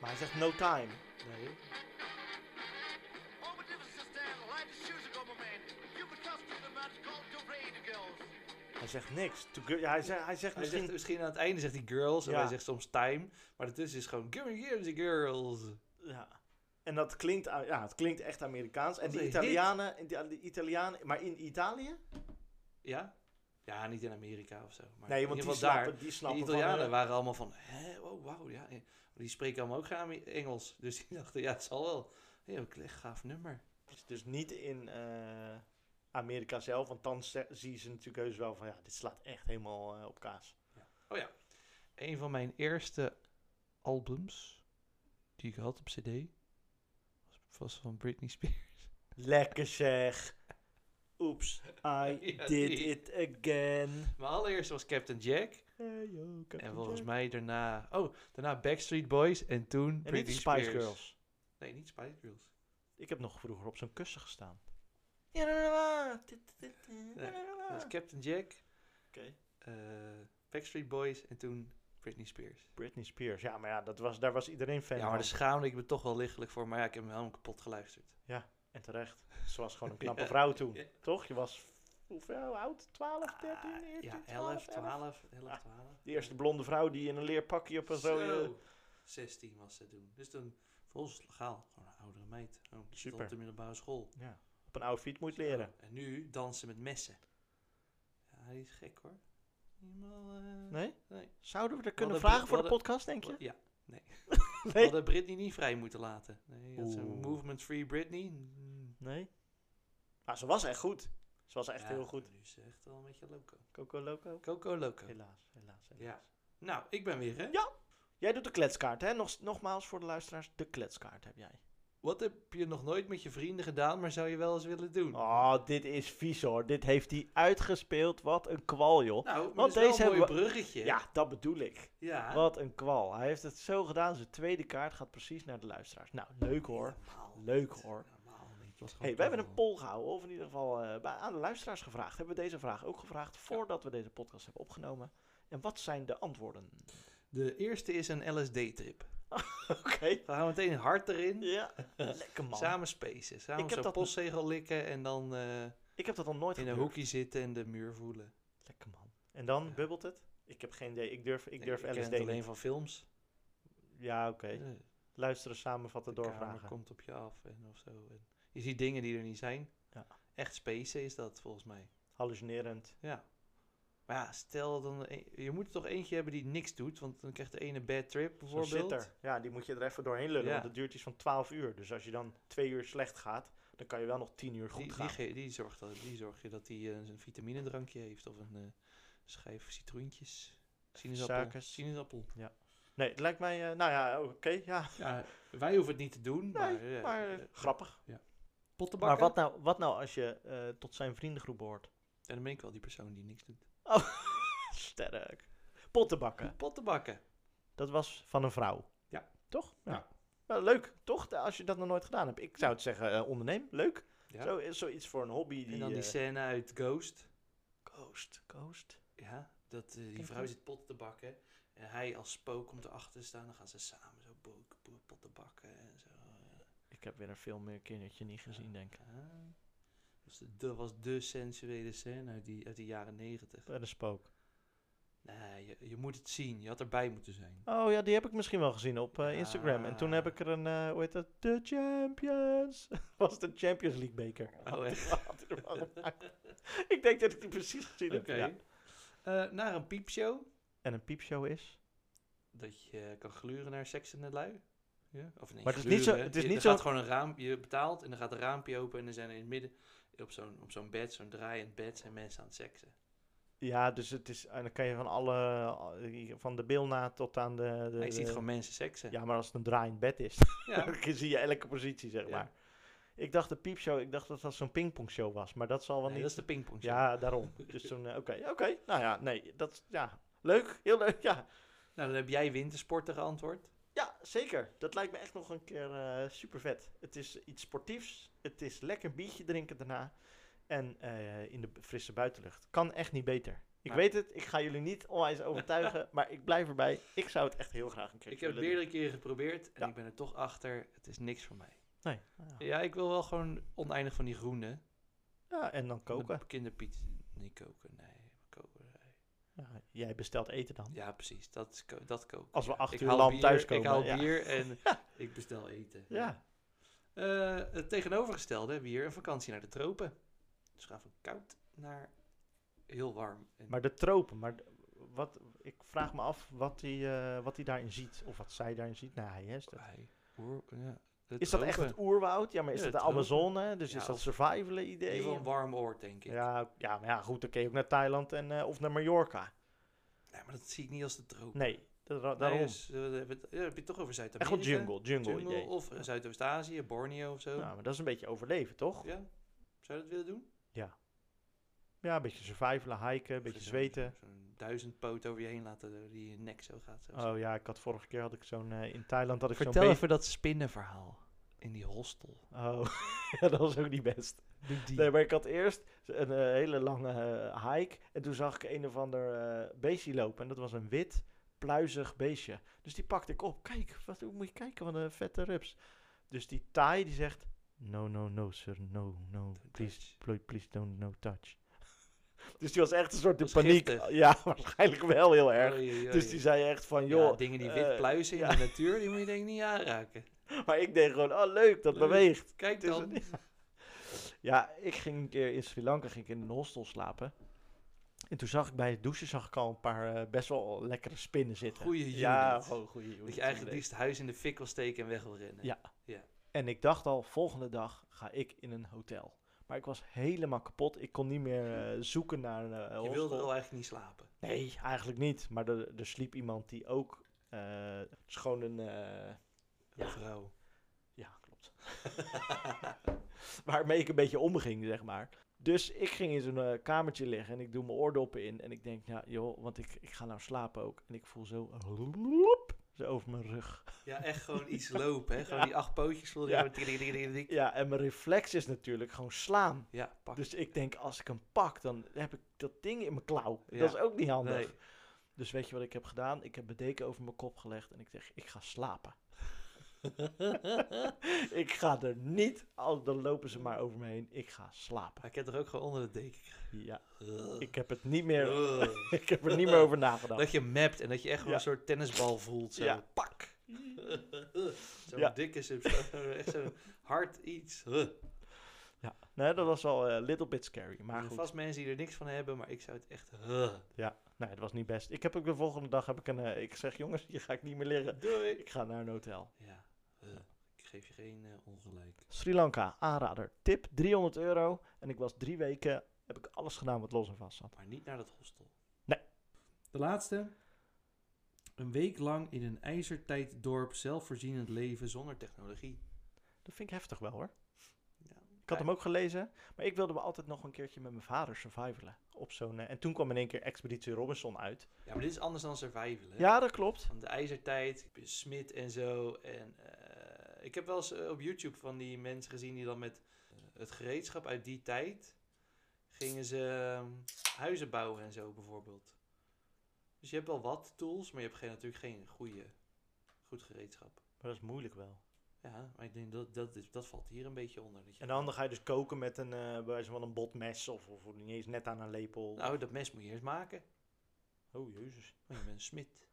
[SPEAKER 4] Maar hij zegt no time.
[SPEAKER 3] Nee.
[SPEAKER 1] All the difference is that light is shoes ago, my man. You could trust me the man called the rain girls.
[SPEAKER 4] Hij zegt niks. To girl- ja, hij, zegt, hij zegt
[SPEAKER 3] Hij
[SPEAKER 4] misschien...
[SPEAKER 3] zegt misschien aan het einde zegt hij girls en
[SPEAKER 4] Ja.
[SPEAKER 3] hij zegt soms time, maar daartussen is gewoon give me give the girls.
[SPEAKER 4] Ja. En dat klinkt, uit- ja, het klinkt echt Amerikaans. En
[SPEAKER 3] Wat
[SPEAKER 4] die
[SPEAKER 3] een hit.
[SPEAKER 4] Italianen, en die- die Italianen... Maar in Italië?
[SPEAKER 3] Ja? Ja, niet in Amerika of zo. Maar
[SPEAKER 4] Nee,
[SPEAKER 3] in
[SPEAKER 4] want
[SPEAKER 3] ieder
[SPEAKER 4] die
[SPEAKER 3] geval daar.
[SPEAKER 4] snappen, die snappen
[SPEAKER 3] de
[SPEAKER 4] van,
[SPEAKER 3] Italianen
[SPEAKER 4] eh,
[SPEAKER 3] waren allemaal van, hè, oh, wauw, ja. eh, Die spreken allemaal ook geen Ame- Engels. Dus die *laughs* dachten, ja, het zal wel. Heel echt gaaf nummer.
[SPEAKER 4] Dus niet in eh, Amerika zelf, want dan ze- zien ze natuurlijk heus wel van ja, dit slaat echt helemaal eh, op kaas.
[SPEAKER 3] Oh ja. Een van mijn eerste albums die ik had op cd was- was van Britney Spears. *laughs*
[SPEAKER 4] Lekker zeg. Oeps, I
[SPEAKER 3] *laughs* Ja,
[SPEAKER 4] did
[SPEAKER 3] die.
[SPEAKER 4] it again.
[SPEAKER 3] Mijn allereerste was Captain Jack.
[SPEAKER 4] Hey, yo, Captain
[SPEAKER 3] en volgens
[SPEAKER 4] Jack.
[SPEAKER 3] mij daarna... Oh, daarna Backstreet Boys en toen
[SPEAKER 4] En niet
[SPEAKER 3] Britney
[SPEAKER 4] de Spice
[SPEAKER 3] Spears.
[SPEAKER 4] Girls.
[SPEAKER 3] Nee, niet Spice Girls.
[SPEAKER 4] Ik heb nog vroeger op zo'n kussen gestaan. Ah.
[SPEAKER 3] Dat was Captain Jack,
[SPEAKER 4] Oké.
[SPEAKER 3] eh, Backstreet Boys en toen Britney Spears.
[SPEAKER 4] Britney Spears, ja, maar ja, dat was, daar was iedereen fan
[SPEAKER 3] Ja, maar
[SPEAKER 4] van.
[SPEAKER 3] daar schaamde ik me toch wel lichtelijk voor. Maar ja, ik heb hem helemaal kapot geluisterd.
[SPEAKER 4] En terecht. Ze was gewoon een *laughs* knappe
[SPEAKER 3] Ja.
[SPEAKER 4] vrouw toen,
[SPEAKER 3] Ja.
[SPEAKER 4] toch? Je was hoeveel oud? 12, 13, 14,
[SPEAKER 3] Ah, ja,
[SPEAKER 4] 12,
[SPEAKER 3] 11, 12, 11,
[SPEAKER 4] Ah,
[SPEAKER 3] 12.
[SPEAKER 4] Die eerste blonde vrouw die in een leerpakje op een eh, rode...
[SPEAKER 3] Zo, 16 was ze toen. Dus toen, voor ons legaal, gewoon een oudere meid. Gewoon die stond
[SPEAKER 4] Super.
[SPEAKER 3] op de middelbare school.
[SPEAKER 4] Ja, op een oude fiets moet leren.
[SPEAKER 3] Zo, En nu dansen met messen. Ja, die is gek hoor. Helemaal, eh,
[SPEAKER 4] Nee?
[SPEAKER 3] Nee.
[SPEAKER 4] Zouden we er
[SPEAKER 3] hadden
[SPEAKER 4] kunnen
[SPEAKER 3] Brit-
[SPEAKER 4] vragen voor de
[SPEAKER 3] we hadden-
[SPEAKER 4] podcast, denk je?
[SPEAKER 3] Ja,
[SPEAKER 4] *laughs*
[SPEAKER 3] nee. We
[SPEAKER 4] Nee.
[SPEAKER 3] hadden Britney niet vrij moeten laten. Nee, dat is een
[SPEAKER 4] Oeh.
[SPEAKER 3] movement free Britney. Mm.
[SPEAKER 4] Nee. Maar ze was echt goed. Ze was echt
[SPEAKER 3] Ja,
[SPEAKER 4] heel goed.
[SPEAKER 3] Nu is ze echt wel een beetje loco.
[SPEAKER 4] Coco Loco.
[SPEAKER 3] Coco loco.
[SPEAKER 4] Helaas, helaas, helaas.
[SPEAKER 3] Ja. Nou, ik ben weer hè.
[SPEAKER 4] Jij doet de kletskaart, hè? Nog, nogmaals voor de luisteraars, de kletskaart heb jij.
[SPEAKER 3] Wat heb je nog nooit met je vrienden gedaan, maar zou je wel eens willen doen?
[SPEAKER 4] Oh, dit is vies hoor. Dit heeft hij uitgespeeld. Wat een kwal, joh.
[SPEAKER 3] Nou, maar
[SPEAKER 4] Want
[SPEAKER 3] dat is
[SPEAKER 4] deze
[SPEAKER 3] wel een mooi
[SPEAKER 4] hebben
[SPEAKER 3] bruggetje.
[SPEAKER 4] Ja, dat bedoel ik.
[SPEAKER 3] ja.
[SPEAKER 4] Wat een kwal. Hij heeft het zo gedaan. Zijn tweede kaart gaat precies naar de luisteraars. Nou, leuk hoor.
[SPEAKER 3] Normaal
[SPEAKER 4] Leuk
[SPEAKER 3] niet.
[SPEAKER 4] hoor.
[SPEAKER 3] Normaal niet.
[SPEAKER 4] Hey, wij hebben een poll gehouden, of in ieder geval eh, bij- aan de luisteraars gevraagd. Hebben we deze vraag ook gevraagd voordat we deze podcast hebben opgenomen? En wat zijn de
[SPEAKER 3] *laughs*
[SPEAKER 4] antwoorden?
[SPEAKER 3] De eerste is een LSD-trip.
[SPEAKER 4] Oké.
[SPEAKER 3] We gaan meteen hard erin. *laughs*
[SPEAKER 4] Ja, lekker man.
[SPEAKER 3] Samen spacen. Samen
[SPEAKER 4] Ik heb
[SPEAKER 3] zo'n
[SPEAKER 4] dat-
[SPEAKER 3] postzegel likken en dan eh,
[SPEAKER 4] Ik heb dat nog nooit
[SPEAKER 3] in een
[SPEAKER 4] gedurfd.
[SPEAKER 3] hoekje zitten en de muur voelen.
[SPEAKER 4] Lekker man. En dan
[SPEAKER 3] Ja.
[SPEAKER 4] bubbelt het? Ik heb geen idee. Ik durf, ik
[SPEAKER 3] Nee,
[SPEAKER 4] durf
[SPEAKER 3] ken
[SPEAKER 4] LSD
[SPEAKER 3] het alleen
[SPEAKER 4] niet.
[SPEAKER 3] van films.
[SPEAKER 4] Ja, oké.
[SPEAKER 3] Eh,
[SPEAKER 4] Luisteren, samenvatten,
[SPEAKER 3] de kamer
[SPEAKER 4] doorvragen.
[SPEAKER 3] komt op je af en of zo. En je ziet dingen die er niet zijn.
[SPEAKER 4] Ja.
[SPEAKER 3] Echt spacen is dat volgens mij.
[SPEAKER 4] Hallucinerend.
[SPEAKER 3] Ja. Maar ja, stel dan... e- Je moet er toch eentje hebben die niks doet. Want dan krijgt de ene bad trip
[SPEAKER 4] Zo'n
[SPEAKER 3] bijvoorbeeld.
[SPEAKER 4] zitter. Ja, die moet je er even doorheen lullen,
[SPEAKER 3] Ja.
[SPEAKER 4] want het duurt iets van 12 uur. Dus als je dan twee uur slecht gaat, dan kan je wel nog 10 uur goed
[SPEAKER 3] Die, die,
[SPEAKER 4] gaan.
[SPEAKER 3] ge- die, zorgt dat, die zorg je dat hij eh, een vitaminedrankje heeft. Of een eh, schijf citroentjes. Sinaasappel.
[SPEAKER 4] suikers.
[SPEAKER 3] Sinaasappel.
[SPEAKER 4] Nee, het lijkt mij... eh, nou ja, oké, ja.
[SPEAKER 3] Ja, wij hoeven het niet te doen. maar, eh,
[SPEAKER 4] maar eh,
[SPEAKER 3] eh,
[SPEAKER 4] grappig.
[SPEAKER 3] pottenbakken.
[SPEAKER 4] Maar wat nou, wat nou als je eh, tot zijn vriendengroep behoort?
[SPEAKER 3] En dan ben ik wel die persoon die niks doet.
[SPEAKER 4] Oh, *laughs* Sterk. Pottenbakken.
[SPEAKER 3] Pottenbakken.
[SPEAKER 4] Dat was van een vrouw.
[SPEAKER 3] Ja.
[SPEAKER 4] Toch?
[SPEAKER 3] Ja.
[SPEAKER 4] Nou, leuk, toch? Da- Als je dat nog nooit gedaan hebt. Ik zou het zeggen, eh, onderneem. Leuk.
[SPEAKER 3] Ja.
[SPEAKER 4] Zo, eh, zoiets voor een hobby. Die,
[SPEAKER 3] en dan die
[SPEAKER 4] eh,
[SPEAKER 3] scène uit Ghost.
[SPEAKER 4] Ghost. Ghost.
[SPEAKER 3] Ja, dat, eh, die
[SPEAKER 4] Kijk
[SPEAKER 3] vrouw
[SPEAKER 4] dan.
[SPEAKER 3] zit potten te bakken. En hij als spook komt erachter te staan. Dan gaan ze samen zo bo- bo- potten bakken en zo. eh.
[SPEAKER 4] Ik heb weer een film meer kindertje niet gezien, denk ik.
[SPEAKER 3] Ah. Dus de- dat was de sensuele scène uit die, uit die jaren negentig.
[SPEAKER 4] Bij de spook.
[SPEAKER 3] Nee, je, je moet het zien. Je had erbij moeten zijn.
[SPEAKER 4] Oh ja, die heb ik misschien wel gezien op eh, Instagram. En toen heb
[SPEAKER 3] Ja.
[SPEAKER 4] ik er een, eh hoe heet dat? De Champions. *laughs* was de Champions League *laughs* beker.
[SPEAKER 3] Oh, echt?
[SPEAKER 4] Had hij ervan gemaakt. ik denk dat ik die precies gezien
[SPEAKER 3] Oké.
[SPEAKER 4] heb. ja.
[SPEAKER 3] Eh, naar een piepshow.
[SPEAKER 4] En een piepshow is?
[SPEAKER 3] Dat je kan gluren naar seks en de lui. Ja? Of nee,
[SPEAKER 4] Maar het is niet zo-
[SPEAKER 3] gluren.
[SPEAKER 4] het is
[SPEAKER 3] je,
[SPEAKER 4] niet
[SPEAKER 3] er gaat
[SPEAKER 4] zo-
[SPEAKER 3] gewoon een raam, je betaalt en dan gaat een raampje open en dan zijn er in het midden op zo'n op zo'n bed, zo'n draaiend bed, zijn mensen aan het seksen.
[SPEAKER 4] Ja, dus het is, en dan kan je van alle, al- van de bilnaad tot aan de... de
[SPEAKER 3] Maar je ziet
[SPEAKER 4] de-
[SPEAKER 3] gewoon mensen seksen.
[SPEAKER 4] Ja, maar als het een draaiend bed is, *laughs*
[SPEAKER 3] Ja.
[SPEAKER 4] dan zie je elke positie, zeg
[SPEAKER 3] Ja.
[SPEAKER 4] maar. Ik dacht de piepshow, ik dacht dat dat zo'n pingpongshow was, maar dat zal wel
[SPEAKER 3] Nee,
[SPEAKER 4] niet...
[SPEAKER 3] dat is de pingpong.
[SPEAKER 4] Ja, daarom. dus zo'n, eh, oké, oké. Nou ja, nee, dat, ja, leuk, heel leuk, ja.
[SPEAKER 3] Nou, dan heb jij wintersporten geantwoord.
[SPEAKER 4] Ja, zeker. Dat lijkt me echt nog een keer eh, super vet. Het is iets sportiefs, het is lekker biertje drinken daarna en eh, in de b- frisse buitenlucht. Kan echt niet beter. Ik
[SPEAKER 3] Maar-
[SPEAKER 4] weet het, ik ga jullie niet onwijs
[SPEAKER 3] *laughs*
[SPEAKER 4] overtuigen, maar ik blijf erbij. Ik zou het echt heel graag een keer
[SPEAKER 3] Ik heb het
[SPEAKER 4] willen doen.
[SPEAKER 3] meerdere keren geprobeerd en
[SPEAKER 4] Ja.
[SPEAKER 3] ik ben er toch achter. Het is niks voor mij.
[SPEAKER 4] Nee. nou Ja.
[SPEAKER 3] Ja, ik wil wel gewoon oneindig van die groene.
[SPEAKER 4] Ja, en dan koken.
[SPEAKER 3] Kinderpiet. Niet koken, nee. Koken.
[SPEAKER 4] Ja, jij bestelt eten dan.
[SPEAKER 3] Ja, precies. Dat, is ko- dat kook.
[SPEAKER 4] Als we acht
[SPEAKER 3] Ik
[SPEAKER 4] uur
[SPEAKER 3] haal
[SPEAKER 4] lam
[SPEAKER 3] bier,
[SPEAKER 4] thuiskomen.
[SPEAKER 3] Ik haal
[SPEAKER 4] *laughs* ja.
[SPEAKER 3] bier en ik bestel eten.
[SPEAKER 4] Ja.
[SPEAKER 3] Eh, het tegenovergestelde hebben we hier een vakantie naar de tropen. Dus we gaan van koud naar heel warm. En
[SPEAKER 4] Maar de tropen, maar d- wat, ik vraag me af wat hij eh, wat hij daarin ziet. Of wat zij daarin ziet. Nee, hij is dat.
[SPEAKER 3] Wij, hoor, ja, de
[SPEAKER 4] Is dat echt
[SPEAKER 3] tropen.
[SPEAKER 4] het oerwoud? Ja, maar is
[SPEAKER 3] Ja,
[SPEAKER 4] dat
[SPEAKER 3] de
[SPEAKER 4] de
[SPEAKER 3] tropen.
[SPEAKER 4] Amazone? Dus
[SPEAKER 3] Ja,
[SPEAKER 4] is dat
[SPEAKER 3] of-
[SPEAKER 4] survival
[SPEAKER 3] In ieder
[SPEAKER 4] idee?
[SPEAKER 3] geval een warm oord, denk ik.
[SPEAKER 4] Ja, ja, maar ja, goed, dan kun je ook naar Thailand en, eh, of naar Mallorca.
[SPEAKER 3] Nee, maar dat zie ik niet als de tropen.
[SPEAKER 4] Nee, da- da- daarom.
[SPEAKER 3] Nee, dus, eh, we hebben het- ja, heb je het toch over
[SPEAKER 4] Echt
[SPEAKER 3] Zuid-Amerika.
[SPEAKER 4] wel jungle, jungle,
[SPEAKER 3] Jungle
[SPEAKER 4] idee.
[SPEAKER 3] of eh, Zuidoost-Azië, Borneo of zo.
[SPEAKER 4] Nou, maar dat is een beetje overleven, toch?
[SPEAKER 3] Ja? Zou je dat willen doen?
[SPEAKER 4] Ja, een beetje survivalen, hiken, een beetje
[SPEAKER 3] Zo'n-
[SPEAKER 4] zweten.
[SPEAKER 3] eh, Zo'n duizend poot over je heen laten eh, die je nek zo gaat. Zo.
[SPEAKER 4] Oh ja, ik had vorige keer had ik zo'n eh, in Thailand had ik zo'n
[SPEAKER 3] Vertel
[SPEAKER 4] beest.
[SPEAKER 3] even dat spinnenverhaal in die hostel.
[SPEAKER 4] Oh, *laughs* ja, dat was ook niet best. Nee, maar ik had eerst een eh, hele lange eh, hike en toen zag ik een of ander eh, beestje lopen en dat was een wit pluizig beestje. Dus die pakte ik op. Kijk, wat moet je kijken wat een vette rups. Dus die Thai die zegt: No, no, no, sir, no, no, please,
[SPEAKER 3] touch."
[SPEAKER 4] pl- please don't no touch. *laughs* dus die was echt een soort de
[SPEAKER 3] Was
[SPEAKER 4] paniek.
[SPEAKER 3] giftig.
[SPEAKER 4] Ja, *laughs* waarschijnlijk wel heel erg.
[SPEAKER 3] Oei, oei,
[SPEAKER 4] Dus
[SPEAKER 3] oei.
[SPEAKER 4] die zei echt van,
[SPEAKER 3] Ja,
[SPEAKER 4] joh,
[SPEAKER 3] dingen die
[SPEAKER 4] eh,
[SPEAKER 3] wit pluizen in
[SPEAKER 4] ja.
[SPEAKER 3] de natuur, die moet je denk ik niet aanraken.
[SPEAKER 4] Maar ik deed gewoon, oh leuk, dat
[SPEAKER 3] Leuk.
[SPEAKER 4] *laughs* beweegt.
[SPEAKER 3] Kijk
[SPEAKER 4] Het is
[SPEAKER 3] dan.
[SPEAKER 4] Ja, ik ging een keer in Sri Lanka ging ik in een hostel slapen. En toen zag ik bij het douchen zag ik al een paar eh, best wel lekkere spinnen zitten.
[SPEAKER 3] Goeie
[SPEAKER 4] Ja,
[SPEAKER 3] unit.
[SPEAKER 4] gewoon goede unit.
[SPEAKER 3] Dat je eigenlijk het
[SPEAKER 4] inderdaad.
[SPEAKER 3] liefst huis in de fik wil steken en weg wil rennen.
[SPEAKER 4] Ja. En ik dacht al, volgende dag ga ik in een hotel. Maar ik was helemaal kapot. Ik kon niet meer eh, zoeken naar een eh,
[SPEAKER 3] Je
[SPEAKER 4] hostel.
[SPEAKER 3] wilde al eigenlijk niet slapen.
[SPEAKER 4] Nee, eigenlijk niet. Maar er, er sliep iemand die ook... eh, het is gewoon een... eh,
[SPEAKER 3] Een
[SPEAKER 4] Ja.
[SPEAKER 3] vrouw.
[SPEAKER 4] Ja, klopt. *laughs* Waarmee ik een beetje omging, zeg maar. Dus ik ging in zo'n eh, kamertje liggen en ik doe mijn oordoppen in. En ik denk, nou joh, want ik, ik ga nou slapen ook. En ik voel zo, zo over mijn rug. *laughs*
[SPEAKER 3] Ja, echt gewoon iets lopen. Hè? Gewoon die acht pootjes voelde je
[SPEAKER 4] Ja.
[SPEAKER 3] gewoon tik, tik, tik, tik, tik.
[SPEAKER 4] Ja, en mijn reflex is natuurlijk gewoon slaan.
[SPEAKER 3] Ja, pak.
[SPEAKER 4] Dus ik denk, als ik hem pak, dan heb ik dat ding in mijn klauw.
[SPEAKER 3] Ja.
[SPEAKER 4] Dat is ook niet handig.
[SPEAKER 3] nee.
[SPEAKER 4] Dus weet je wat ik heb gedaan? Ik heb mijn deken over mijn kop gelegd en ik zeg, ik ga slapen. ik ga er niet, al dan lopen ze maar over me heen. Ik ga slapen.
[SPEAKER 3] Maar ik heb er ook gewoon onder de deken.
[SPEAKER 4] Ja,
[SPEAKER 3] gekregen.
[SPEAKER 4] ik heb het niet meer, *laughs*
[SPEAKER 3] Ugh.
[SPEAKER 4] ik heb er niet meer over nagedacht.
[SPEAKER 3] Dat je mapt en dat je echt gewoon
[SPEAKER 4] Ja.
[SPEAKER 3] een soort tennisbal voelt. Zo.
[SPEAKER 4] Ja. *laughs*
[SPEAKER 3] Pak! zo'n
[SPEAKER 4] Ja.
[SPEAKER 3] dikke substantie. *laughs* echt zo'n hard iets. Huh.
[SPEAKER 4] Nee, dat was wel een little bit scary,
[SPEAKER 3] Er
[SPEAKER 4] maar
[SPEAKER 3] zijn
[SPEAKER 4] goed.
[SPEAKER 3] vast mensen die er niks van hebben, maar ik zou het echt... huh.
[SPEAKER 4] Nee, dat was niet best. Ik heb ook de volgende dag, heb ik een, eh, ik zeg jongens, hier ga ik niet meer liggen.
[SPEAKER 3] Doei!
[SPEAKER 4] Ik ga naar een hotel.
[SPEAKER 3] Ja, huh. ik geef je geen eh, ongelijk.
[SPEAKER 4] Sri Lanka, aanrader. Tip, 300 euro. En ik was drie weken, heb ik alles gedaan wat los en vast zat.
[SPEAKER 3] Maar niet naar dat hostel.
[SPEAKER 4] Nee.
[SPEAKER 3] De laatste. Een week lang in een ijzertijddorp zelfvoorzienend leven zonder technologie.
[SPEAKER 4] Dat vind ik heftig wel hoor.
[SPEAKER 3] Ja.
[SPEAKER 4] Ik had hem ook gelezen, maar ik wilde me altijd nog een keertje met mijn vader survivalen. Op zo'n, eh, en toen kwam in één keer Expeditie Robinson uit.
[SPEAKER 3] Ja, maar dit is anders dan survival, hè?
[SPEAKER 4] Ja, dat klopt.
[SPEAKER 3] Van de ijzertijd, smid en zo. En eh, ik heb wel eens eh, op YouTube van die mensen gezien die dan met eh, het gereedschap uit die tijd gingen ze ehm, huizen bouwen en zo bijvoorbeeld. Dus je hebt wel wat tools, maar je hebt geen, natuurlijk geen goede, goed gereedschap.
[SPEAKER 4] Maar dat is moeilijk wel.
[SPEAKER 3] Ja, maar ik denk dat dat, is, dat valt hier een beetje onder. Dat je,
[SPEAKER 4] En dan ga je dus koken met een, eh bij wijze van een botmes of, of niet eens net aan een lepel.
[SPEAKER 3] Nou, dat mes moet je eerst maken.
[SPEAKER 4] oh jezus.
[SPEAKER 3] Maar je bent een smid.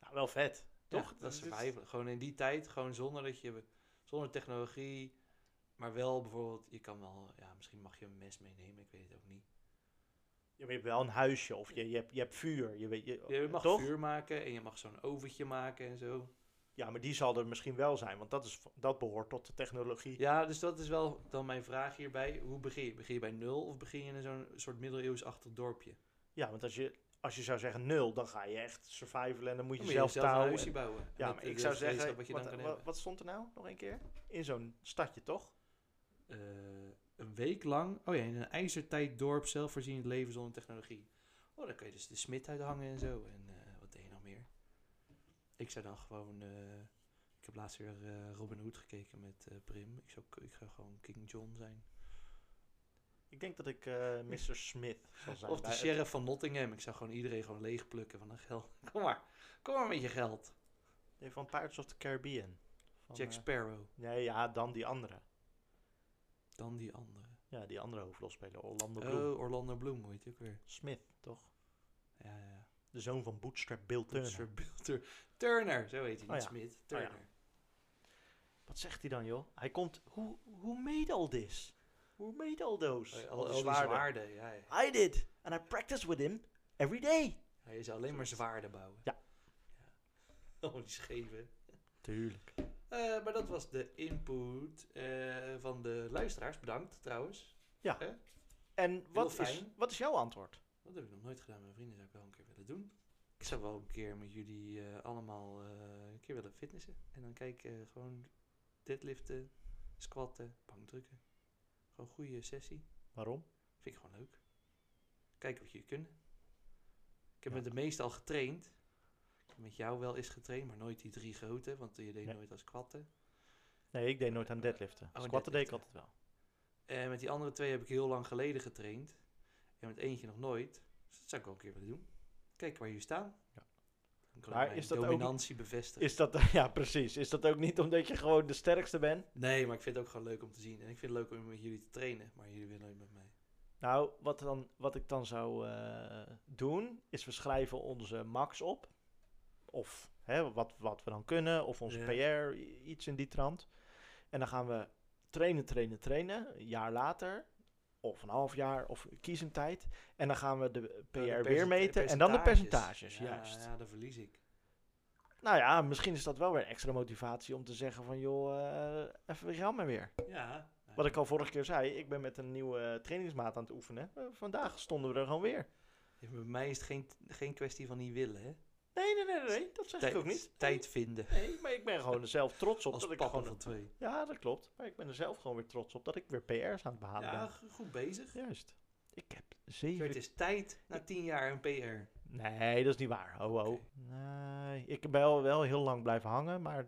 [SPEAKER 4] Nou, wel vet. Toch?
[SPEAKER 3] Toch? dat
[SPEAKER 4] dus
[SPEAKER 3] is survival. Gewoon in die tijd, gewoon zonder dat je zonder technologie, maar wel bijvoorbeeld, je kan wel, ja, misschien mag je een mes meenemen, ik weet het ook niet.
[SPEAKER 4] Ja, maar je hebt wel een huisje of je, je, hebt, je hebt vuur. Je, weet, je,
[SPEAKER 3] Je mag
[SPEAKER 4] Oh, toch?
[SPEAKER 3] vuur maken en je mag zo'n oventje maken en zo.
[SPEAKER 4] Ja, maar die zal er misschien wel zijn, want dat, is, dat behoort tot de technologie.
[SPEAKER 3] Ja, dus dat is wel dan mijn vraag hierbij. Hoe begin je? Begin je bij nul of begin je in zo'n soort middeleeuwsachtig dorpje?
[SPEAKER 4] Ja, want als je, als je zou zeggen nul, dan ga je echt survivalen en dan moet je
[SPEAKER 3] Dan moet je
[SPEAKER 4] zelf
[SPEAKER 3] zelf een
[SPEAKER 4] touwen
[SPEAKER 3] huisje
[SPEAKER 4] en-
[SPEAKER 3] bouwen.
[SPEAKER 4] Ja,
[SPEAKER 3] Met
[SPEAKER 4] maar
[SPEAKER 3] het
[SPEAKER 4] ik zou
[SPEAKER 3] gereedschap
[SPEAKER 4] zeggen,
[SPEAKER 3] Wat
[SPEAKER 4] wat,
[SPEAKER 3] je dan kan
[SPEAKER 4] wa-
[SPEAKER 3] hebben.
[SPEAKER 4] wat stond er nou nog een keer? In zo'n stadje, toch?
[SPEAKER 3] Eh, een week lang, oh ja, in een ijzertijddorp zelfvoorzienend leven zonder technologie. Oh, dan kun je dus de smid uithangen en zo. En eh, wat deed je nog meer? Ik zou dan gewoon, eh, ik heb laatst weer eh, Robin Hood gekeken met eh, Prim. Ik zou, ik zou gewoon King John zijn.
[SPEAKER 4] Ik denk dat ik eh Mr. Smith zal zijn.
[SPEAKER 3] Of de
[SPEAKER 4] bij het-
[SPEAKER 3] sheriff van Nottingham. Ik zou gewoon iedereen gewoon leegplukken van een geld. *laughs* Kom maar, kom maar met je geld.
[SPEAKER 4] nee, van Pirates of the Caribbean. Van,
[SPEAKER 3] Jack
[SPEAKER 4] eh,
[SPEAKER 3] Sparrow,
[SPEAKER 4] nee, ja, dan die andere.
[SPEAKER 3] dan die andere.
[SPEAKER 4] Ja, die andere hoofdrolspeler, Orlando Bloom.
[SPEAKER 3] Oh, Orlando Bloom, hoe heet die ook weer?
[SPEAKER 4] Smith, toch?
[SPEAKER 3] Ja, ja.
[SPEAKER 4] De zoon van Bootstrap Bill Turner.
[SPEAKER 3] Turner. Turner, zo heet hij,
[SPEAKER 4] Oh
[SPEAKER 3] niet
[SPEAKER 4] ja.
[SPEAKER 3] Smit.
[SPEAKER 4] ja.
[SPEAKER 3] Turner.
[SPEAKER 4] Wat zegt hij dan, joh? Hij komt... Who, who made all this? Who made all those?
[SPEAKER 3] Al,
[SPEAKER 4] Al die
[SPEAKER 3] al die
[SPEAKER 4] zwaarden.
[SPEAKER 3] zwaarden, ja, ja.
[SPEAKER 4] I did. And I practiced with him every day.
[SPEAKER 3] Hij is alleen maar zwaarden bouwen.
[SPEAKER 4] Ja.
[SPEAKER 3] ja. *laughs* Oh, die scheven.
[SPEAKER 4] Tuurlijk.
[SPEAKER 3] Eh, maar dat was de input eh, van de luisteraars. Bedankt trouwens.
[SPEAKER 4] En wat is,
[SPEAKER 3] fijn.
[SPEAKER 4] wat is jouw antwoord?
[SPEAKER 3] Dat heb ik nog nooit gedaan met mijn vrienden. Zou ik wel een keer willen doen. Ik zou wel een keer met jullie eh, allemaal eh, een keer willen fitnessen. En dan kijk eh, gewoon deadliften, squatten, bankdrukken. Gewoon een goede sessie.
[SPEAKER 4] Waarom?
[SPEAKER 3] Vind ik gewoon leuk. Kijken wat jullie kunnen. Ik heb
[SPEAKER 4] Ja.
[SPEAKER 3] met de meeste al getraind. Ik heb met jou wel eens getraind, maar nooit die drie grote. Want je deed
[SPEAKER 4] Nee.
[SPEAKER 3] nooit als squatten.
[SPEAKER 4] Nee, ik deed nooit aan deadliften.
[SPEAKER 3] Oh,
[SPEAKER 4] Squatten deed ik altijd
[SPEAKER 3] deadliften.
[SPEAKER 4] wel.
[SPEAKER 3] En met die andere twee heb ik heel lang geleden getraind. En met eentje nog nooit. Dus dat zou ik wel een keer willen doen. Kijk waar jullie staan.
[SPEAKER 4] Ja.
[SPEAKER 3] Dan kan
[SPEAKER 4] Maar
[SPEAKER 3] ik mijn
[SPEAKER 4] is dat ook-
[SPEAKER 3] dominantie bevestigen.
[SPEAKER 4] Is dat, *laughs* ja, precies. Is dat ook niet omdat je gewoon de sterkste bent?
[SPEAKER 3] Nee, maar ik vind het ook gewoon leuk om te zien. En ik vind het leuk om met jullie te trainen. Maar jullie willen nooit met mij.
[SPEAKER 4] Nou, wat, dan, wat ik dan zou eh, doen, is we schrijven onze max op. Of hè, wat, wat we dan kunnen, of onze
[SPEAKER 3] Ja.
[SPEAKER 4] PR, i- iets in die trant. En dan gaan we trainen, trainen, trainen. Een jaar later, of een half jaar, of kies een tijd. En dan gaan we de PR
[SPEAKER 3] Nou, de
[SPEAKER 4] weer
[SPEAKER 3] percenta-
[SPEAKER 4] meten en dan de percentages,
[SPEAKER 3] Ja,
[SPEAKER 4] juist.
[SPEAKER 3] Ja, dan verlies ik.
[SPEAKER 4] Nou ja, misschien is dat wel weer extra motivatie om te zeggen van... joh, eh, even weer maar weer.
[SPEAKER 3] Ja. Nou,
[SPEAKER 4] Wat ik al vorige keer zei, ik ben met een nieuwe eh, trainingsmaat aan het oefenen. Eh, vandaag stonden we er gewoon weer.
[SPEAKER 3] ja, Bij mij is het geen, geen kwestie van niet willen, hè.
[SPEAKER 4] Nee, nee, nee, nee, nee, dat zeg
[SPEAKER 3] Tijd-
[SPEAKER 4] ik ook niet.
[SPEAKER 3] Tijd vinden.
[SPEAKER 4] Nee, maar ik ben gewoon er zelf trots op.
[SPEAKER 3] Als
[SPEAKER 4] dat ik
[SPEAKER 3] papa
[SPEAKER 4] gewoon...
[SPEAKER 3] van twee.
[SPEAKER 4] Ja, dat klopt. Maar ik ben er zelf gewoon weer trots op dat ik weer PR's aan het behalen
[SPEAKER 3] Ja, go- goed bezig.
[SPEAKER 4] ben. Juist. Ik heb
[SPEAKER 3] Het
[SPEAKER 4] zeven...
[SPEAKER 3] is tijd na tien jaar een PR.
[SPEAKER 4] Nee, dat is niet waar. Ho, ho.
[SPEAKER 3] Oké.
[SPEAKER 4] Nee, ik ben wel, wel heel lang blijven hangen, maar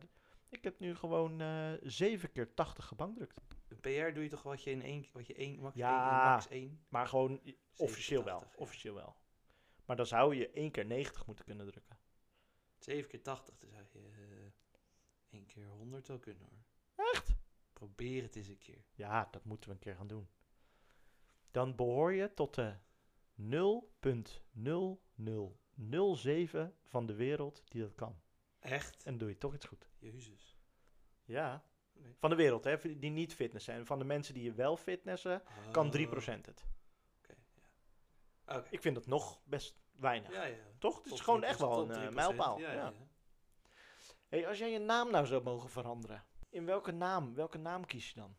[SPEAKER 4] ik heb nu gewoon eh, zeven keer 80 gebankdrukt.
[SPEAKER 3] Een PR doe je toch wat je in één, wat je één, max
[SPEAKER 4] Ja.
[SPEAKER 3] één, en max één.
[SPEAKER 4] Maar gewoon i- officieel
[SPEAKER 3] 87,
[SPEAKER 4] wel.
[SPEAKER 3] ja.
[SPEAKER 4] Officieel wel. Maar dan zou je één keer 90 moeten kunnen drukken.
[SPEAKER 3] 7 keer 80, dan zou je eh, één keer 100 wel kunnen hoor.
[SPEAKER 4] Echt?
[SPEAKER 3] Probeer het eens een keer.
[SPEAKER 4] Ja, dat moeten we een keer gaan doen. Dan behoor je tot de 0.0007 van de wereld die dat kan.
[SPEAKER 3] Echt?
[SPEAKER 4] En doe je toch iets goed.
[SPEAKER 3] Jezus.
[SPEAKER 4] Ja.
[SPEAKER 3] Oké.
[SPEAKER 4] Van de wereld, hè, die niet fitnessen. En van de mensen die je wel fitnessen, kan 3%
[SPEAKER 3] Oh,
[SPEAKER 4] het.
[SPEAKER 3] Oké, ja. Oké.
[SPEAKER 4] Ik vind dat nog best weinig.
[SPEAKER 3] Ja, ja.
[SPEAKER 4] Toch? Het is
[SPEAKER 3] Top
[SPEAKER 4] gewoon
[SPEAKER 3] drie-
[SPEAKER 4] echt wel
[SPEAKER 3] top
[SPEAKER 4] een eh,
[SPEAKER 3] 3%,
[SPEAKER 4] mijlpaal.
[SPEAKER 3] Ja,
[SPEAKER 4] ja.
[SPEAKER 3] ja, ja.
[SPEAKER 4] Hey, als jij je naam nou zou mogen veranderen, in welke naam, welke naam kies je dan?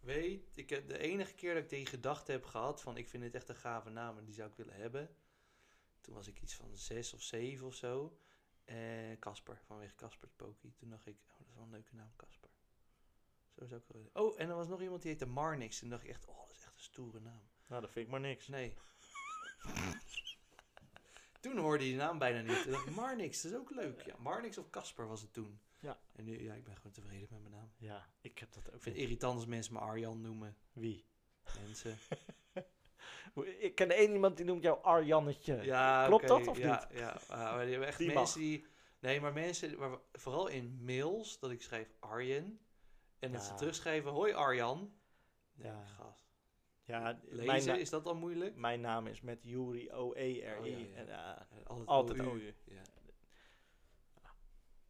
[SPEAKER 3] Weet, ik heb de enige keer dat ik die gedachte heb gehad van ik vind dit echt een gave naam en die zou ik willen hebben. Toen was ik iets van 6 of 7 of zo. Eh, Casper, vanwege Casper's Pokie. Toen dacht ik, oh, dat is wel een leuke naam, Casper. Zo zou ik wel willen. Oh, en er was nog iemand die heette Marnix. Toen dacht ik echt, oh, dat is echt een stoere naam.
[SPEAKER 4] Nou, dat vind ik maar niks.
[SPEAKER 3] Nee. *laughs* toen hoorde je die naam bijna niet. Toen dacht ik, Marnix, dat is ook leuk. Ja, Marnix of Casper was het toen.
[SPEAKER 4] Ja.
[SPEAKER 3] En nu, ja, ik ben gewoon tevreden met mijn naam.
[SPEAKER 4] Ja, ik heb dat
[SPEAKER 3] Ik
[SPEAKER 4] ook
[SPEAKER 3] vind
[SPEAKER 4] niet.
[SPEAKER 3] het irritant als mensen me Arjan noemen.
[SPEAKER 4] Wie?
[SPEAKER 3] Mensen.
[SPEAKER 4] Ik ken één iemand die noemt jou Arjannetje.
[SPEAKER 3] Ja,
[SPEAKER 4] Klopt
[SPEAKER 3] oké,
[SPEAKER 4] dat of
[SPEAKER 3] ja, Ja, ah, maar die hebben echt
[SPEAKER 4] Die mag.
[SPEAKER 3] mensen die... Nee, maar mensen, maar vooral in mails, dat ik schrijf Arjen. En dat ze
[SPEAKER 4] Ja.
[SPEAKER 3] terugschrijven, hoi Arjan. Nee,
[SPEAKER 4] Ja.
[SPEAKER 3] gast.
[SPEAKER 4] Ja,
[SPEAKER 3] Lezen,
[SPEAKER 4] mijn, na-
[SPEAKER 3] is dat al moeilijk?
[SPEAKER 4] mijn naam is met Yuri O-E-R-I.
[SPEAKER 3] Oh, ja, ja.
[SPEAKER 4] En, ja,
[SPEAKER 3] Eh, Altijd,
[SPEAKER 4] altijd
[SPEAKER 3] OU.
[SPEAKER 4] OU.
[SPEAKER 3] Ja.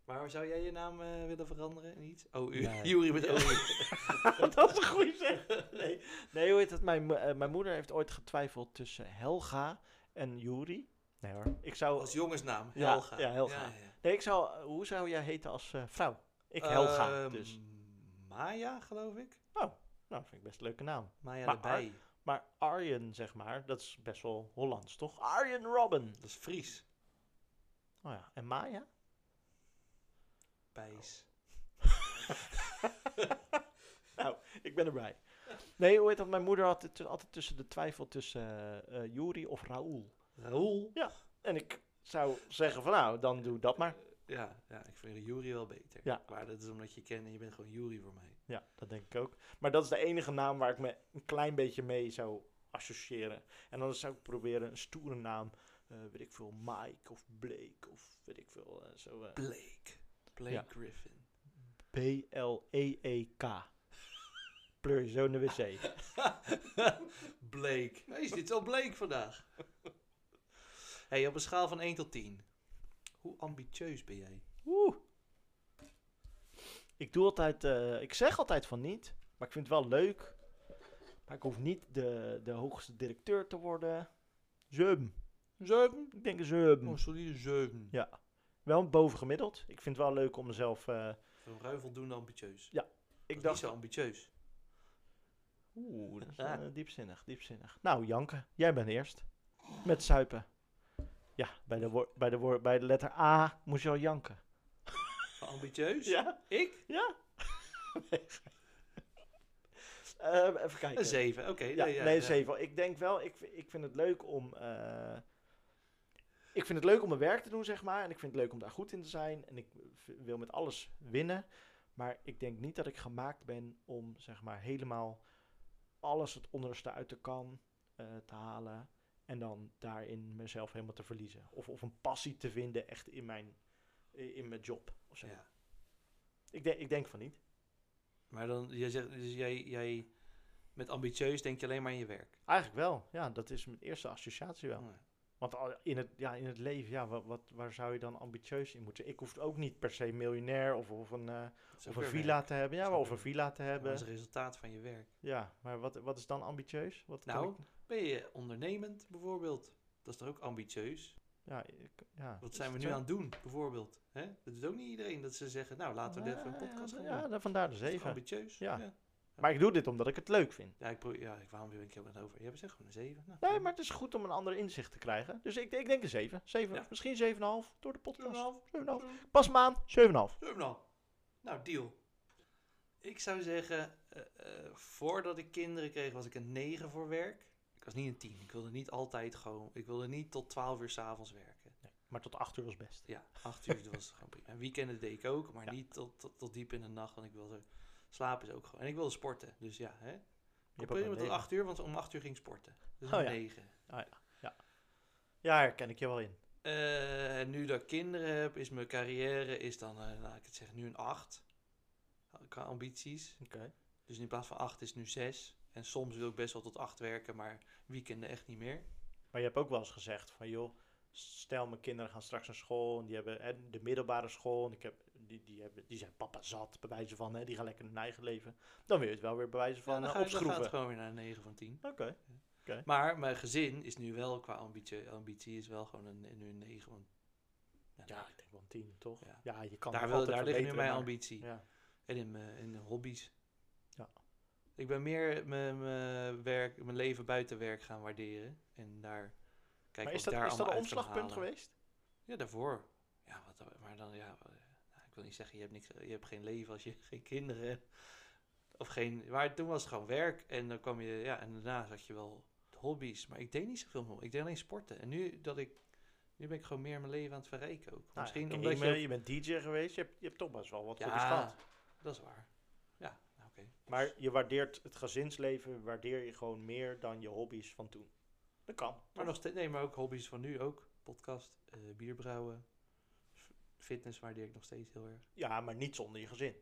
[SPEAKER 3] Maar zou jij je naam eh, willen veranderen in iets? OU. *laughs*
[SPEAKER 4] Nee.
[SPEAKER 3] Jury met OU.
[SPEAKER 4] eh, *laughs* dat is een goede zeg. Nee. nee, hoe heet het? Mijn, mo- eh, mijn moeder heeft ooit getwijfeld tussen Helga en Yuri. Nee hoor. Ik zou,
[SPEAKER 3] Als jongensnaam,
[SPEAKER 4] Ja,
[SPEAKER 3] Helga.
[SPEAKER 4] ja, Helga. nee, ik zou, hoe zou jij heten als eh, vrouw? Ik Helga,
[SPEAKER 3] Ehm,
[SPEAKER 4] dus.
[SPEAKER 3] Maya, geloof ik.
[SPEAKER 4] Nou, vind ik best een leuke naam.
[SPEAKER 3] Maya
[SPEAKER 4] Maar
[SPEAKER 3] de Bij.
[SPEAKER 4] Maar Arjen, zeg maar, dat is best wel Hollands, toch? Arjen Robin.
[SPEAKER 3] Dat is Fries.
[SPEAKER 4] Oh ja, en Maya? *laughs*
[SPEAKER 3] Bijs.
[SPEAKER 4] Nou, ik ben erbij. Nee, hoe heet dat? Mijn moeder had het tu- altijd tussen de twijfel tussen eh, eh, Yuri of Raoul.
[SPEAKER 3] Raoul.
[SPEAKER 4] En ik zou zeggen van nou, dan doe dat maar.
[SPEAKER 3] Ja, ja, ik vind Jury wel beter.
[SPEAKER 4] Ja.
[SPEAKER 3] Maar dat is omdat je kent en je bent gewoon Jury voor mij.
[SPEAKER 4] Ja, dat denk ik ook. Maar dat is de enige naam waar ik me een klein beetje mee zou associëren. En dan zou ik proberen een stoere naam, eh, weet ik veel, Mike of Blake of weet ik veel, eh, zo eh,
[SPEAKER 3] Blake. Blake
[SPEAKER 4] Ja.
[SPEAKER 3] Griffin. *laughs*
[SPEAKER 4] B-L-E-E-K. E Pleur je zo in de wc.
[SPEAKER 3] Blake. Hey, is dit al Blake vandaag? *laughs* Hey, op een schaal van 1 tot 10. Hoe ambitieus ben jij?
[SPEAKER 4] Oeh. Ik doe altijd, eh, ik zeg altijd van niet, maar ik vind het wel leuk. Maar ik hoef niet de, de hoogste directeur te worden. Zeum.
[SPEAKER 3] 7.
[SPEAKER 4] Ik denk een zeum.
[SPEAKER 3] Oh, solide 7.
[SPEAKER 4] Ja. Wel bovengemiddeld. Ik vind het wel leuk om mezelf. eh,
[SPEAKER 3] Zo'n ruim voldoende ambitieus.
[SPEAKER 4] ik
[SPEAKER 3] dat is
[SPEAKER 4] dacht.
[SPEAKER 3] niet zo ambitieus.
[SPEAKER 4] Oeh, dat is
[SPEAKER 3] Ah.
[SPEAKER 4] eh, diepzinnig, diepzinnig. Nou, Janke, jij bent eerst. Met zuipen. Ja, bij de, woor- bij de, woor- bij de letter A moest je al janken.
[SPEAKER 3] Maar ambitieus?
[SPEAKER 4] Ja?
[SPEAKER 3] Ik?
[SPEAKER 4] Ja. *laughs* Nee, gein. Ehm, even kijken.
[SPEAKER 3] Een 7. Oké.
[SPEAKER 4] Ja,
[SPEAKER 3] ja,
[SPEAKER 4] nee,
[SPEAKER 3] ja.
[SPEAKER 4] zeven. Ik denk wel, ik, v- ik vind het leuk om... eh, ik vind het leuk om mijn werk te doen, zeg maar. En ik vind het leuk om daar goed in te zijn. En ik v- wil met alles winnen. Maar ik denk niet dat ik gemaakt ben om, zeg maar, helemaal alles het onderste uit de kan eh, te halen. En dan daarin mezelf helemaal te verliezen. Of, of een passie te vinden echt in mijn, i- in mijn job. Of zo.
[SPEAKER 3] Ja.
[SPEAKER 4] Ik, denk ik denk van niet.
[SPEAKER 3] Maar dan, jij zegt, dus jij, jij, met ambitieus denk je alleen maar aan je werk.
[SPEAKER 4] Eigenlijk wel. Ja, dat is mijn eerste associatie wel.
[SPEAKER 3] Oh,
[SPEAKER 4] Want al- in het, ja, in het leven, ja, wa- wat, waar zou je dan ambitieus in moeten? Ik hoef ook niet per se miljonair of, of een, eh,
[SPEAKER 3] dat is ook
[SPEAKER 4] of een
[SPEAKER 3] weer
[SPEAKER 4] villa
[SPEAKER 3] werk.
[SPEAKER 4] te hebben. Ja,
[SPEAKER 3] Zou
[SPEAKER 4] maar of een
[SPEAKER 3] kunnen.
[SPEAKER 4] villa te
[SPEAKER 3] Maar Dat is
[SPEAKER 4] hebben.
[SPEAKER 3] het resultaat van je werk.
[SPEAKER 4] Ja, maar wat, wat is dan ambitieus? Wat kan
[SPEAKER 3] Nou.
[SPEAKER 4] ik-
[SPEAKER 3] Ben je ondernemend bijvoorbeeld? Dat is toch ook ambitieus?
[SPEAKER 4] ja, ik- ja,
[SPEAKER 3] Wat
[SPEAKER 4] is
[SPEAKER 3] zijn we
[SPEAKER 4] het
[SPEAKER 3] nu
[SPEAKER 4] wel-
[SPEAKER 3] aan het doen, bijvoorbeeld? Hè? Dat doet ook niet iedereen dat ze zeggen, nou laten we
[SPEAKER 4] Ja,
[SPEAKER 3] even een podcast
[SPEAKER 4] ja,
[SPEAKER 3] gaan
[SPEAKER 4] Ja,
[SPEAKER 3] doen.
[SPEAKER 4] dan vandaar de
[SPEAKER 3] Dat is toch
[SPEAKER 4] zeven.
[SPEAKER 3] ambitieus?
[SPEAKER 4] Ja.
[SPEAKER 3] ja.
[SPEAKER 4] Maar ik doe dit omdat ik het leuk vind.
[SPEAKER 3] Ja, ik probeer, ja, ik, waarom ben ik helemaal over? Je zegt gewoon een 7. Nou,
[SPEAKER 4] Nee,
[SPEAKER 3] prima.
[SPEAKER 4] maar het is goed om een ander inzicht te krijgen. Dus ik, ik denk een zeven. Zeven,
[SPEAKER 3] Ja.
[SPEAKER 4] misschien zeven en een half door de podcast.
[SPEAKER 3] 7,5.
[SPEAKER 4] Zeven en een half. Pas maan, zeven en een half.
[SPEAKER 3] 7,5. Nou, deal. Ik zou zeggen, eh, eh, voordat ik kinderen kreeg, was ik een 9 voor werk. Ik was niet een 10. Ik wilde niet altijd gewoon, ik wilde niet tot 12 uur s'avonds werken.
[SPEAKER 4] Maar tot acht uur was best.
[SPEAKER 3] Ja, 8
[SPEAKER 4] *laughs*
[SPEAKER 3] uur dat was gewoon prima. En weekenden deed ik ook, maar
[SPEAKER 4] Ja.
[SPEAKER 3] niet tot, tot, tot diep in de nacht, want ik wilde slapen is ook gewoon. En ik wilde sporten, dus ja, hè. Ik
[SPEAKER 4] ook een
[SPEAKER 3] probeerde tot
[SPEAKER 4] negen.
[SPEAKER 3] 8 uur, want om 8 uur ging ik sporten. Dus
[SPEAKER 4] Oh
[SPEAKER 3] een
[SPEAKER 4] ja.
[SPEAKER 3] 9.
[SPEAKER 4] Ja, daar ken ik je wel in.
[SPEAKER 3] Eh, en nu dat ik kinderen heb, is mijn carrière is dan, eh, laat ik het zeggen, nu een 8. Qua ambities.
[SPEAKER 4] Oké.
[SPEAKER 3] Dus in plaats van 8 is nu 6. En soms wil ik best wel tot 8 werken, maar weekenden echt niet meer.
[SPEAKER 4] Maar je hebt ook wel eens gezegd van joh, stel mijn kinderen gaan straks naar school en die hebben hè, de middelbare school en ik heb, die, die, hebben, die zijn papa zat bij wijze van, hè, die gaan lekker hun eigen leven. Dan wil je het wel weer bij wijze
[SPEAKER 3] Ja,
[SPEAKER 4] van
[SPEAKER 3] dan,
[SPEAKER 4] eh,
[SPEAKER 3] ga ik, dan gaat het
[SPEAKER 4] opschroeven.
[SPEAKER 3] gewoon weer naar 9 van 10.
[SPEAKER 4] Oké,
[SPEAKER 3] Maar mijn gezin is nu wel qua ambitie, ambitie is wel gewoon een, nu een 9. Want, ja,
[SPEAKER 4] ja, ik denk wel een tien toch? Ja,
[SPEAKER 3] Ja.
[SPEAKER 4] je kan
[SPEAKER 3] daar
[SPEAKER 4] nog
[SPEAKER 3] wil,
[SPEAKER 4] altijd
[SPEAKER 3] daar ligt nu
[SPEAKER 4] verbeteren,
[SPEAKER 3] mijn
[SPEAKER 4] maar-
[SPEAKER 3] ambitie.
[SPEAKER 4] Ja.
[SPEAKER 3] En in mijn, in mijn hobby's.
[SPEAKER 4] Ja.
[SPEAKER 3] Ik ben meer mijn, mijn, werk, mijn leven buiten werk gaan waarderen. En daar kijken
[SPEAKER 4] Maar
[SPEAKER 3] of
[SPEAKER 4] is
[SPEAKER 3] ik
[SPEAKER 4] dat,
[SPEAKER 3] daar
[SPEAKER 4] is dat een
[SPEAKER 3] allemaal uit kan
[SPEAKER 4] omslagpunt
[SPEAKER 3] halen.
[SPEAKER 4] geweest?
[SPEAKER 3] Ja, daarvoor. Ja, wat, dan- maar dan, ja, eh, nou, ik wil niet zeggen, je hebt, niks, je hebt geen leven als je *laughs* geen kinderen hebt. Of geen, maar toen was het gewoon werk en dan kwam je, ja, en daarna zat je wel hobby's. Maar ik deed niet zoveel meer. Ik deed alleen sporten. En nu dat ik, nu ben ik gewoon meer mijn leven aan het verrijken ook.
[SPEAKER 4] Nou,
[SPEAKER 3] Misschien
[SPEAKER 4] oké,
[SPEAKER 3] omdat
[SPEAKER 4] je, bent-
[SPEAKER 3] je...
[SPEAKER 4] je bent DJ geweest, je hebt, je hebt toch best wel wat voor de
[SPEAKER 3] Ja,
[SPEAKER 4] stad.
[SPEAKER 3] dat is waar. Ja, nou, oké.
[SPEAKER 4] Maar je waardeert het gezinsleven, waardeer je gewoon meer dan je hobby's van toen. Dat kan.
[SPEAKER 3] Maar nog steeds, nee, maar ook hobby's van nu ook. Podcast, eh bier brouwen, f- fitness waardeer ik nog steeds heel erg.
[SPEAKER 4] Ja, maar niet zonder je gezin.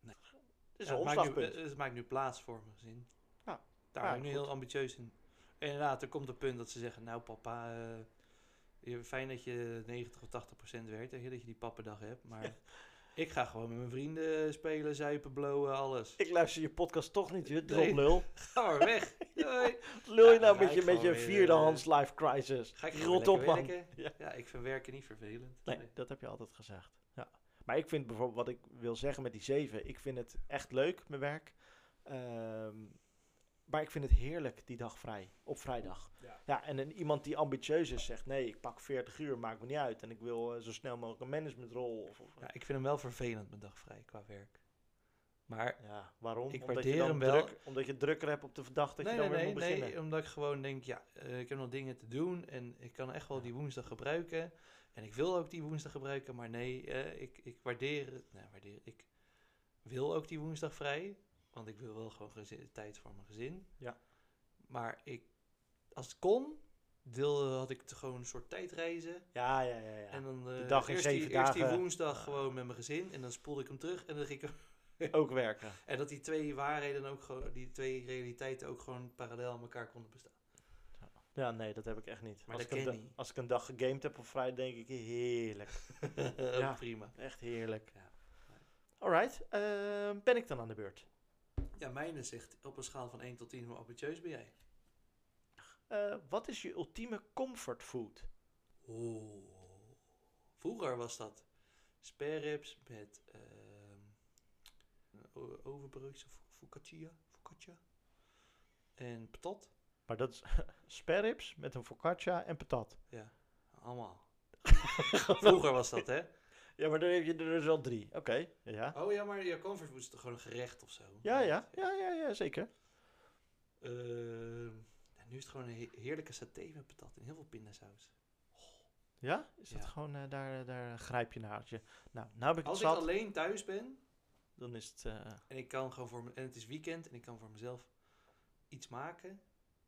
[SPEAKER 3] Nee.
[SPEAKER 4] Het is
[SPEAKER 3] Ja,
[SPEAKER 4] een
[SPEAKER 3] het maakt nu-
[SPEAKER 4] omslagpunt.
[SPEAKER 3] eh, Het maakt nu plaats voor mijn gezin.
[SPEAKER 4] Ja.
[SPEAKER 3] Daar
[SPEAKER 4] Ja,
[SPEAKER 3] ben ik nu
[SPEAKER 4] goed.
[SPEAKER 3] heel ambitieus in. En inderdaad, er komt een punt dat ze zeggen, nou papa, eh, je- fijn dat je 90 of 80 procent werkt, hè, dat je die pappendag hebt, maar...
[SPEAKER 4] *laughs*
[SPEAKER 3] Ik ga gewoon met mijn vrienden spelen, zuipen, blowen,
[SPEAKER 4] *laughs*
[SPEAKER 3] alles.
[SPEAKER 4] Ik luister je podcast toch niet, je
[SPEAKER 3] Nee.
[SPEAKER 4] *laughs* droplul.
[SPEAKER 3] Ga maar weg. Doei.
[SPEAKER 4] Lul je
[SPEAKER 3] Ja,
[SPEAKER 4] nou
[SPEAKER 3] dan
[SPEAKER 4] met
[SPEAKER 3] ga
[SPEAKER 4] je,
[SPEAKER 3] ik
[SPEAKER 4] met je
[SPEAKER 3] gewoon weer,
[SPEAKER 4] vierde
[SPEAKER 3] eh,
[SPEAKER 4] Hans life crisis.
[SPEAKER 3] Ga ik gewoon
[SPEAKER 4] Rot op,
[SPEAKER 3] lekker
[SPEAKER 4] man.
[SPEAKER 3] werken.
[SPEAKER 4] Ja.
[SPEAKER 3] Ja. ik vind werken niet vervelend.
[SPEAKER 4] Nee, dat heb je altijd gezegd. Ja. Maar ik vind bijvoorbeeld, wat ik wil zeggen met die zeven, ik vind het echt leuk, mijn werk. Ehm, maar ik vind het heerlijk die dag vrij, op vrijdag.
[SPEAKER 3] Ja.
[SPEAKER 4] en een, iemand die ambitieus is zegt, nee, ik pak 40 uur, maakt me niet uit. En ik wil eh, zo snel mogelijk een managementrol. Of, of- ja.
[SPEAKER 3] Ja, ik vind hem wel vervelend, mijn dag vrij, qua werk. Maar
[SPEAKER 4] waarom?
[SPEAKER 3] Ik
[SPEAKER 4] omdat, je
[SPEAKER 3] waardeer
[SPEAKER 4] dan
[SPEAKER 3] hem wel.
[SPEAKER 4] druk- omdat je het drukker hebt op de dag dat je dan weer moet beginnen.
[SPEAKER 3] omdat ik gewoon denk, ja, eh, ik heb nog dingen te doen en ik kan echt wel die woensdag gebruiken. En ik wil ook die woensdag gebruiken, maar nee, eh, ik, ik waardeer het. Nou, waardeer, ik wil ook die woensdag vrij, want ik wil wel gewoon gezi- tijd voor mijn gezin.
[SPEAKER 4] Ja.
[SPEAKER 3] Maar ik, als het kon, wilde, had ik het gewoon een soort tijdreizen.
[SPEAKER 4] Ja, ja, ja. ja.
[SPEAKER 3] En dan
[SPEAKER 4] Die
[SPEAKER 3] eh,
[SPEAKER 4] dag in
[SPEAKER 3] eerst,
[SPEAKER 4] zeven
[SPEAKER 3] die, eerst die
[SPEAKER 4] dagen.
[SPEAKER 3] woensdag
[SPEAKER 4] Ah.
[SPEAKER 3] gewoon met mijn gezin en dan spoelde ik hem terug en dan ging ik *laughs*
[SPEAKER 4] Ook werken.
[SPEAKER 3] En dat die twee waarheden ook gewoon, die twee realiteiten ook gewoon parallel aan elkaar konden bestaan.
[SPEAKER 4] Ja. Ja, nee, dat heb ik echt niet.
[SPEAKER 3] Maar
[SPEAKER 4] als,
[SPEAKER 3] dat
[SPEAKER 4] ik
[SPEAKER 3] ken
[SPEAKER 4] een da-
[SPEAKER 3] je.
[SPEAKER 4] als ik een dag gegamed heb op vrijdag, denk ik heerlijk.
[SPEAKER 3] Ook
[SPEAKER 4] *laughs* Ja.
[SPEAKER 3] prima.
[SPEAKER 4] Echt heerlijk.
[SPEAKER 3] Ja.
[SPEAKER 4] Alright, ehm, ben ik dan aan de beurt?
[SPEAKER 3] Ja, mijne zegt op een schaal van 1 tot 10, hoe ambitieus ben jij?
[SPEAKER 4] Eh, wat is je ultieme comfort food?
[SPEAKER 3] Oeh. Vroeger was dat spare ribs met ehm o- overbroodjes of focaccia, focaccia. En patat.
[SPEAKER 4] Maar dat is *laughs* spare ribs met een focaccia en patat.
[SPEAKER 3] Ja,
[SPEAKER 4] *laughs*
[SPEAKER 3] allemaal. Vroeger was dat, hè?
[SPEAKER 4] Ja, maar dan heb je er dus wel drie. Oké, ja.
[SPEAKER 3] Oh ja, maar je comfort food is toch gewoon een gerecht of zo?
[SPEAKER 4] Ja, ja, ja, ja, ja, zeker.
[SPEAKER 3] Ehm, ja, nu is het gewoon een he- heerlijke saté met patat en heel veel pindasaus.
[SPEAKER 4] Ja? Is dat
[SPEAKER 3] Ja.
[SPEAKER 4] gewoon, eh, daar, daar grijp je naar. als je- Nou, nou heb ik
[SPEAKER 3] Als
[SPEAKER 4] het
[SPEAKER 3] ik
[SPEAKER 4] zat,
[SPEAKER 3] alleen thuis ben
[SPEAKER 4] dan is het... eh,
[SPEAKER 3] en, ik kan gewoon voor me- en het is weekend en ik kan voor mezelf iets maken,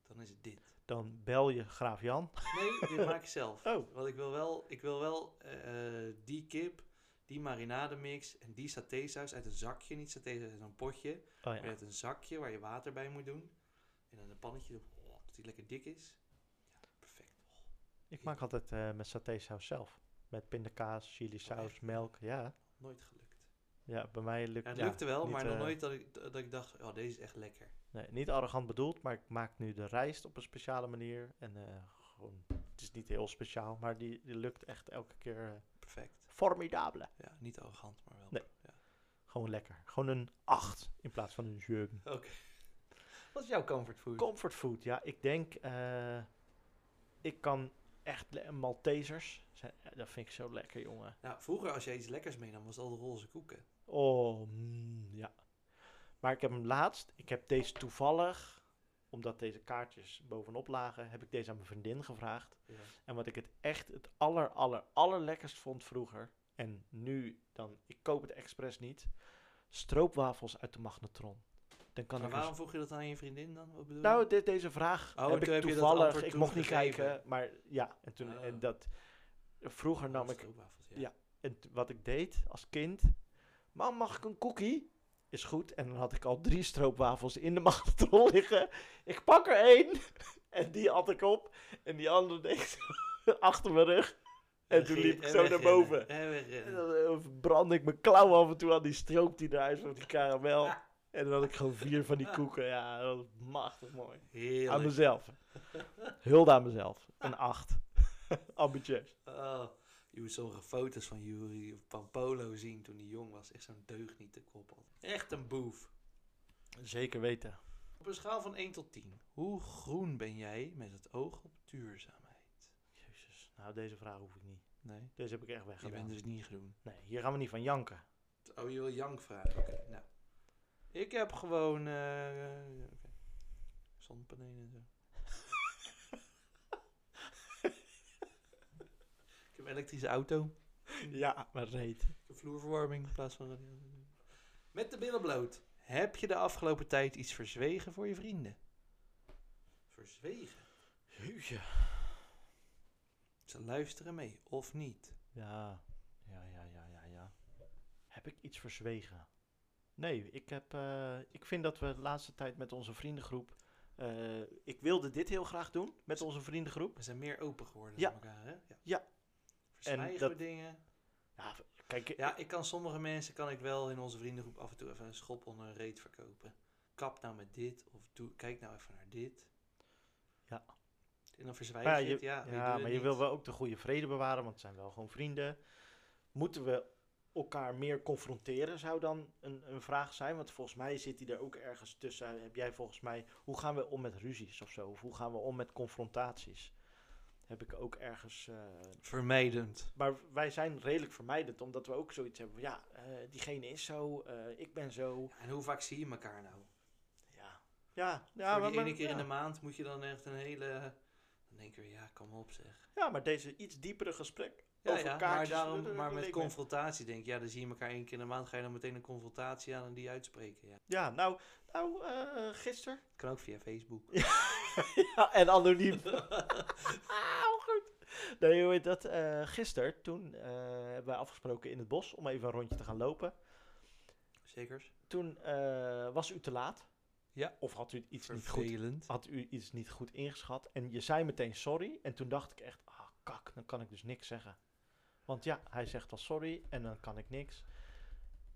[SPEAKER 3] dan is het dit.
[SPEAKER 4] dan bel je graaf Jan.
[SPEAKER 3] Nee,
[SPEAKER 4] *laughs*
[SPEAKER 3] dit maak ik zelf.
[SPEAKER 4] Oh.
[SPEAKER 3] Want ik wil wel, ik wil wel eh, eh, die kip, die marinademix en die satésaus uit een zakje. Niet satésaus uit een potje,
[SPEAKER 4] Oh
[SPEAKER 3] maar
[SPEAKER 4] ja.
[SPEAKER 3] uit een zakje waar je water bij moet doen. En dan een pannetje, oh, dat die lekker dik is. Ja, perfect. Oh,
[SPEAKER 4] Ik maak altijd eh, met satésaus zelf. Met pindakaas, chili saus,
[SPEAKER 3] Oh, echt?
[SPEAKER 4] melk. Ja.
[SPEAKER 3] Nooit gelukt.
[SPEAKER 4] ja, bij mij lukt
[SPEAKER 3] Ja, het
[SPEAKER 4] ja,
[SPEAKER 3] lukte wel,
[SPEAKER 4] niet,
[SPEAKER 3] maar nog
[SPEAKER 4] eh,
[SPEAKER 3] nooit dat ik, dat ik dacht, oh, deze is echt lekker.
[SPEAKER 4] Nee, niet arrogant bedoeld, maar ik maak nu de rijst op een speciale manier. En eh, gewoon, het is niet heel speciaal, maar die, die lukt echt elke keer eh,
[SPEAKER 3] Perfect.
[SPEAKER 4] formidabele.
[SPEAKER 3] Ja, niet arrogant, maar wel.
[SPEAKER 4] Nee.
[SPEAKER 3] Ja.
[SPEAKER 4] Gewoon lekker. Gewoon een 8 in plaats van een 7.
[SPEAKER 3] *laughs* Wat is jouw comfort food?
[SPEAKER 4] Comfort food, ja, ik denk, eh, ik kan echt le- Maltesers. Zijn, eh, dat vind ik zo lekker, jongen.
[SPEAKER 3] Nou, vroeger als jij iets lekkers meenam, was het al de roze koeken.
[SPEAKER 4] Oh, mm, ja. Maar ik heb hem laatst, ik heb deze toevallig, omdat deze kaartjes bovenop lagen, heb ik deze aan mijn vriendin gevraagd.
[SPEAKER 3] Ja.
[SPEAKER 4] En wat ik het echt het aller, aller, allerlekkerst vond vroeger. En nu dan, ik koop het expres niet. Stroopwafels uit de magnetron. Dan kan
[SPEAKER 3] Maar
[SPEAKER 4] ik. er-
[SPEAKER 3] waarom vroeg je dat aan je vriendin dan? Wat bedoel je?
[SPEAKER 4] Nou, dit, deze vraag
[SPEAKER 3] Oh,
[SPEAKER 4] heb
[SPEAKER 3] toen
[SPEAKER 4] ik
[SPEAKER 3] heb je dat
[SPEAKER 4] toevallig.
[SPEAKER 3] antwoord
[SPEAKER 4] ik
[SPEAKER 3] toen
[SPEAKER 4] mocht niet
[SPEAKER 3] gegeven.
[SPEAKER 4] kijken, maar ja. En toen
[SPEAKER 3] Ah.
[SPEAKER 4] en dat. Vroeger nam ik.
[SPEAKER 3] Stroopwafels, ja.
[SPEAKER 4] ja. En t- wat ik deed als kind. Mam, mag ik een cookie? Is goed. En dan had ik al drie stroopwafels in de magnetron *laughs* liggen. Ik pak er één. *laughs* En die at ik op. En die andere deed *laughs* ik achter mijn rug. En toen
[SPEAKER 3] ging-
[SPEAKER 4] liep ik
[SPEAKER 3] en
[SPEAKER 4] zo naar
[SPEAKER 3] wegrennen,
[SPEAKER 4] boven.
[SPEAKER 3] En
[SPEAKER 4] En
[SPEAKER 3] wegrennen.
[SPEAKER 4] dan eh, brandde ik mijn klauw af en toe aan die stroop die eruit van die karamel. *laughs* En dan had ik gewoon vier van die koeken. Ja, dat was machtig mooi. Aan
[SPEAKER 3] Heerlijk.
[SPEAKER 4] mezelf. Hulde aan mezelf. Een acht. *laughs* Ambitieus.
[SPEAKER 3] Oh, je moet sommige foto's van Yuri Pampolo zien toen hij jong was. Echt zo'n deugniete kop had. Echt een boef.
[SPEAKER 4] Zeker weten.
[SPEAKER 3] Op een schaal van 1 tot 10. Hoe groen ben jij met het oog op duurzaamheid?
[SPEAKER 4] Jezus. Nou, deze vraag hoef ik niet.
[SPEAKER 3] Nee,
[SPEAKER 4] Deze heb ik echt
[SPEAKER 3] je
[SPEAKER 4] weggedaan.
[SPEAKER 3] bent dus niet groen.
[SPEAKER 4] Nee, hier gaan we niet van janken.
[SPEAKER 3] Oh, je wil Jank vragen. Oké, nou. Ik heb gewoon... eh eh, oké. Zonnepanelen en zo. *laughs* ik heb een elektrische auto.
[SPEAKER 4] Ja, maar reet.
[SPEAKER 3] Ik heb vloerverwarming in plaats van radio. Met de billen bloot. Heb je de afgelopen tijd iets verzwegen voor je vrienden? Verzwegen?
[SPEAKER 4] Jeetje.
[SPEAKER 3] Ze luisteren mee, of niet?
[SPEAKER 4] Ja. Ja, ja, ja, ja, ja. Heb ik iets verzwegen? Nee, ik, heb, eh, ik vind dat we de laatste tijd met onze vriendengroep... eh, ik wilde dit heel graag doen met onze vriendengroep.
[SPEAKER 3] We zijn meer open geworden
[SPEAKER 4] Ja.
[SPEAKER 3] met elkaar, hè? Ja.
[SPEAKER 4] Ja.
[SPEAKER 3] Verzwijgen
[SPEAKER 4] dat-
[SPEAKER 3] we dingen?
[SPEAKER 4] Ja, kijk,
[SPEAKER 3] Ja, ik kan sommige mensen kan ik wel in onze vriendengroep af en toe even een schop onder een reet verkopen. Kap nou met dit, of doe, kijk nou even naar dit.
[SPEAKER 4] Ja.
[SPEAKER 3] En dan verzwijg
[SPEAKER 4] Maar ja,
[SPEAKER 3] je
[SPEAKER 4] je,
[SPEAKER 3] het, ja.
[SPEAKER 4] ja,
[SPEAKER 3] doet het
[SPEAKER 4] maar je
[SPEAKER 3] niet.
[SPEAKER 4] wil wel ook de goede vrede bewaren, want het zijn wel gewoon vrienden. Moeten we elkaar meer confronteren, zou dan een, een vraag zijn. Want volgens mij zit die er ook ergens tussen. Heb jij volgens mij, hoe gaan we om met ruzies of zo? Of hoe gaan we om met confrontaties? Heb ik ook ergens. eh,
[SPEAKER 3] Vermijdend.
[SPEAKER 4] maar wij zijn redelijk vermijdend, omdat we ook zoiets hebben. van, Ja, eh, diegene is zo, eh, ik ben zo.
[SPEAKER 3] En hoe vaak zie je elkaar nou?
[SPEAKER 4] Ja, ja, ja,
[SPEAKER 3] Ja,
[SPEAKER 4] maar-
[SPEAKER 3] Voor die
[SPEAKER 4] maar-
[SPEAKER 3] ene keer
[SPEAKER 4] ja.
[SPEAKER 3] in de maand moet je dan echt een hele... Dan denk je, weer, ja, kom op zeg.
[SPEAKER 4] ja, maar deze iets diepere gesprek.
[SPEAKER 3] Ja,
[SPEAKER 4] over
[SPEAKER 3] ja, maar,
[SPEAKER 4] kaartjes,
[SPEAKER 3] daarom,
[SPEAKER 4] dat-
[SPEAKER 3] maar
[SPEAKER 4] dat
[SPEAKER 3] met
[SPEAKER 4] leek me-
[SPEAKER 3] confrontatie denk ik, ja, dan zie je elkaar één keer in de maand, ga je dan meteen een confrontatie aan en die uitspreken. Ja.
[SPEAKER 4] Ja, nou, nou eh, gisteren.
[SPEAKER 3] Kan ook via Facebook.
[SPEAKER 4] *laughs* ja, en *laughs* anoniem. ah, hoe goed. Nee, hoe heet dat? eh gisteren, toen eh, hebben wij afgesproken in het bos om even een rondje te gaan lopen.
[SPEAKER 3] Zekers?
[SPEAKER 4] Toen eh, was u te laat.
[SPEAKER 3] Ja.
[SPEAKER 4] Of had u iets niet goed Oh,
[SPEAKER 3] Vervelend.
[SPEAKER 4] had u iets niet goed ingeschat en je zei meteen sorry. En toen dacht ik echt, ah kak, dan kan ik dus niks zeggen. Want ja, hij zegt al sorry en dan kan ik niks.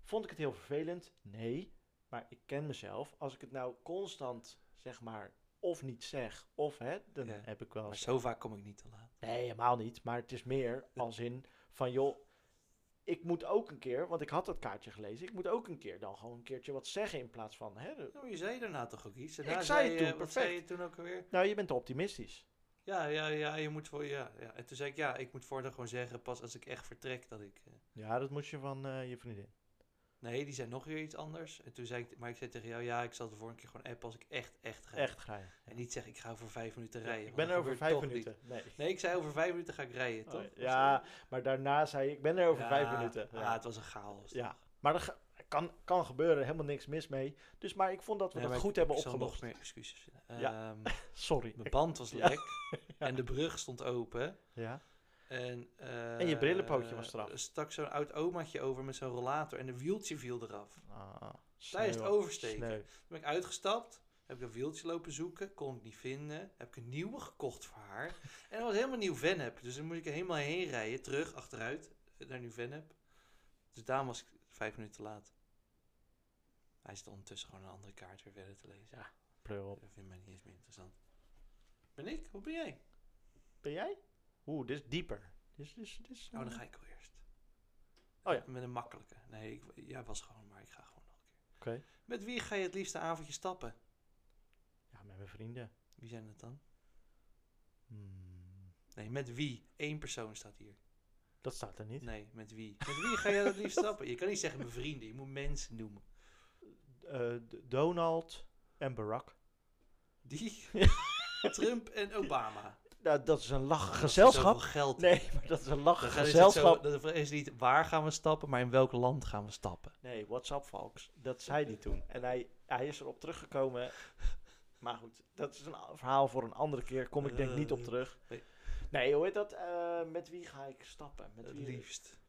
[SPEAKER 4] Vond ik het heel vervelend? Nee, maar ik ken mezelf. Als ik het nou constant, zeg maar, of niet zeg, of hè, dan
[SPEAKER 3] Ja.
[SPEAKER 4] heb ik wel
[SPEAKER 3] Maar
[SPEAKER 4] eens...
[SPEAKER 3] zo vaak kom ik niet te laat.
[SPEAKER 4] Nee, helemaal niet. Maar het is meer als in van, joh, ik moet ook een keer, want ik had dat kaartje gelezen, ik moet ook een keer dan gewoon een keertje wat zeggen in plaats van, hè, de-
[SPEAKER 3] Nou, je zei daarna toch ook iets? En
[SPEAKER 4] Ik
[SPEAKER 3] daar
[SPEAKER 4] zei het
[SPEAKER 3] je,
[SPEAKER 4] toen,
[SPEAKER 3] eh, Wat zei je
[SPEAKER 4] perfect.
[SPEAKER 3] toen ook alweer?
[SPEAKER 4] nou, je bent te optimistisch.
[SPEAKER 3] Ja, ja, ja, je moet voor, ja, ja. En toen zei ik, ja, ik moet voortaan gewoon zeggen, pas als ik echt vertrek, dat ik... eh,
[SPEAKER 4] Ja, dat moest je van eh, je vriendin.
[SPEAKER 3] nee, die zei nog weer iets anders. En toen zei ik, maar ik zei tegen jou, ja, ik zal de vorige keer gewoon appen als ik echt, echt ga.
[SPEAKER 4] Echt ga je.
[SPEAKER 3] En niet zeggen, ik ga over vijf minuten
[SPEAKER 4] Ja,
[SPEAKER 3] rijden.
[SPEAKER 4] ik
[SPEAKER 3] want
[SPEAKER 4] ben
[SPEAKER 3] dat
[SPEAKER 4] er over
[SPEAKER 3] gebeurt
[SPEAKER 4] vijf
[SPEAKER 3] toch
[SPEAKER 4] minuten. Nee.
[SPEAKER 3] niet. Nee, ik zei over vijf minuten ga ik rijden,
[SPEAKER 4] Oh,
[SPEAKER 3] toch? Of
[SPEAKER 4] ja,
[SPEAKER 3] zo?
[SPEAKER 4] maar daarna zei je, ik ben er over vijf
[SPEAKER 3] Ja,
[SPEAKER 4] minuten. Ja.
[SPEAKER 3] Ah, het was een chaos.
[SPEAKER 4] Ja,
[SPEAKER 3] toch?
[SPEAKER 4] Maar dat ge- kan, kan gebeuren, helemaal niks mis mee. Dus, maar ik vond dat we
[SPEAKER 3] Nee, maar
[SPEAKER 4] dat
[SPEAKER 3] ik-
[SPEAKER 4] goed hebben
[SPEAKER 3] ik zal
[SPEAKER 4] opgelost.
[SPEAKER 3] nog meer excuses.
[SPEAKER 4] Ja.
[SPEAKER 3] Ehm,
[SPEAKER 4] Sorry.
[SPEAKER 3] mijn
[SPEAKER 4] Ik-
[SPEAKER 3] band was
[SPEAKER 4] *laughs* Ja.
[SPEAKER 3] lek en de brug stond open.
[SPEAKER 4] Ja.
[SPEAKER 3] En,
[SPEAKER 4] En je
[SPEAKER 3] eh,
[SPEAKER 4] brillenpootje was eraf.
[SPEAKER 3] Er stak zo'n oud omaatje over met zo'n rollator en een wieltje viel eraf.
[SPEAKER 4] Ah,
[SPEAKER 3] Tijdens het
[SPEAKER 4] sneu.
[SPEAKER 3] oversteken.
[SPEAKER 4] Sneu.
[SPEAKER 3] Toen ben ik uitgestapt, heb ik een wieltje lopen zoeken, kon ik niet vinden. Heb ik een nieuwe gekocht voor haar. En dat was helemaal nieuw Vennep. Dus dan moet ik er helemaal heen rijden, terug, achteruit, naar nieuw Vennep. Dus daarom was ik vijf minuten te laat. Hij zit ondertussen gewoon een andere kaart weer verder te lezen. Ja,
[SPEAKER 4] Prul.
[SPEAKER 3] dat vindt mij niet eens meer interessant. Ben ik? Hoe ben jij?
[SPEAKER 4] Ben jij? Oeh, dit is dieper. Dit is, dit is, dit is- eh,
[SPEAKER 3] Nou, dan ga ik al eerst.
[SPEAKER 4] Mm. Oh ja.
[SPEAKER 3] Met een makkelijke. Nee, ik, jij was gewoon, maar ik ga gewoon nog een keer.
[SPEAKER 4] Oké.
[SPEAKER 3] Met wie ga je het liefste avondje stappen?
[SPEAKER 4] Ja, met mijn vrienden.
[SPEAKER 3] Wie zijn het dan?
[SPEAKER 4] Hmm,
[SPEAKER 3] Nee, met wie? Eén persoon staat hier.
[SPEAKER 4] Dat staat er niet.
[SPEAKER 3] Nee, met wie? Met wie ga jij het liefst stappen? Je kan niet zeggen mijn vrienden, je moet mensen noemen.
[SPEAKER 4] Eh, D- Donald en Barack. *laughs*
[SPEAKER 3] Die, Trump en Obama.
[SPEAKER 4] Nou, dat is een lach
[SPEAKER 3] Oh, Zoveel
[SPEAKER 4] gezelschap.
[SPEAKER 3] geld.
[SPEAKER 4] Nee, *laughs* maar dat is een lach
[SPEAKER 3] Dan gaan- is het
[SPEAKER 4] gezelschap.
[SPEAKER 3] zo- Dan is het niet waar gaan we stappen, maar in welk land gaan we stappen.
[SPEAKER 4] Nee, what's up, Valks? Dat zei hij toen. En hij, hij is erop teruggekomen. Maar goed, dat is een a- verhaal voor een andere keer. Kom ik denk niet op
[SPEAKER 3] Eh,
[SPEAKER 4] terug.
[SPEAKER 3] nee.
[SPEAKER 4] Nee, hoe heet dat? Eh, met wie ga ik stappen? Met
[SPEAKER 3] Het
[SPEAKER 4] wie?
[SPEAKER 3] liefst.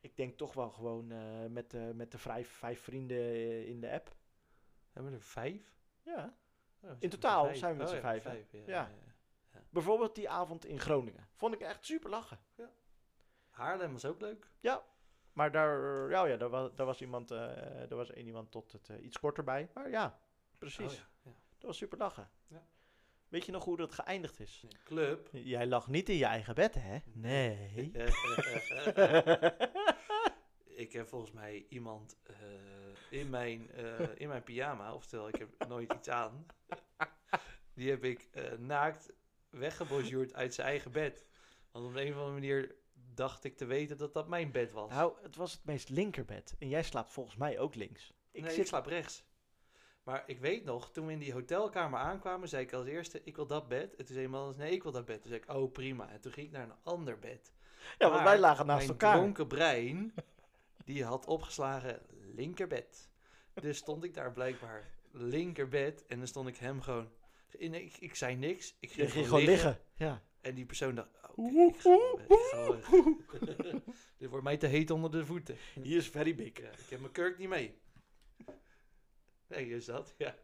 [SPEAKER 4] Ik denk toch wel gewoon eh, met, de met de vijf, vijf vrienden eh, in de app.
[SPEAKER 3] Hebben we er vijf?
[SPEAKER 4] Ja.
[SPEAKER 3] Oh, we zijn met z'n
[SPEAKER 4] totaal
[SPEAKER 3] vijf.
[SPEAKER 4] zijn we met
[SPEAKER 3] Oh
[SPEAKER 4] z'n
[SPEAKER 3] ja,
[SPEAKER 4] vijven.
[SPEAKER 3] ja,
[SPEAKER 4] Ja.
[SPEAKER 3] ja, ja.
[SPEAKER 4] Bijvoorbeeld die avond in Groningen. Vond ik echt super lachen.
[SPEAKER 3] Haarlem was ook leuk.
[SPEAKER 4] Maar daar, ja, ja, daar, was, daar was iemand, eh, daar was één iemand tot het eh, iets korter bij. Maar ja, precies.
[SPEAKER 3] Oh ja, ja.
[SPEAKER 4] Dat was super lachen.
[SPEAKER 3] Ja.
[SPEAKER 4] Weet je nog hoe dat geëindigd is?
[SPEAKER 3] Nee, Club.
[SPEAKER 4] Jij lag niet in je eigen bed, hè? *laughs* Nee.
[SPEAKER 3] Eh, eh, eh, eh.
[SPEAKER 4] *laughs*
[SPEAKER 3] Ik heb volgens mij iemand eh, in, mijn, eh, in mijn pyjama, oftewel ik heb nooit iets aan, die heb ik eh, naakt weggebonjourd uit zijn eigen bed. Want op een of andere manier dacht ik te weten dat dat mijn bed was.
[SPEAKER 4] nou, het was het meest linkerbed. En jij slaapt volgens mij ook links.
[SPEAKER 3] ik
[SPEAKER 4] Ik
[SPEAKER 3] nee, ik
[SPEAKER 4] zit
[SPEAKER 3] slaap rechts. Maar ik weet nog, toen we in die hotelkamer aankwamen, zei ik als eerste, ik wil dat bed. En toen zei iemand anders, nee, ik wil dat bed. Toen zei ik, oh prima. En toen ging ik naar een ander bed.
[SPEAKER 4] Ja, want
[SPEAKER 3] Maar
[SPEAKER 4] wij lagen naast
[SPEAKER 3] Mijn
[SPEAKER 4] elkaar.
[SPEAKER 3] dronken brein, die had opgeslagen linkerbed. Dus stond ik daar blijkbaar linkerbed en dan stond ik hem gewoon... in- ik, ik zei niks, ik
[SPEAKER 4] Je
[SPEAKER 3] ging,
[SPEAKER 4] ging gewoon liggen. Ja.
[SPEAKER 3] En die persoon dacht, oh, oké,
[SPEAKER 4] Oeh,
[SPEAKER 3] ik ga wel
[SPEAKER 4] oeh,
[SPEAKER 3] weg, ik ga wel weg. Dit wordt mij te heet onder de voeten.
[SPEAKER 4] Hier is very big.
[SPEAKER 3] Ja, ik heb mijn kurk niet mee. Nee, is dat, ja.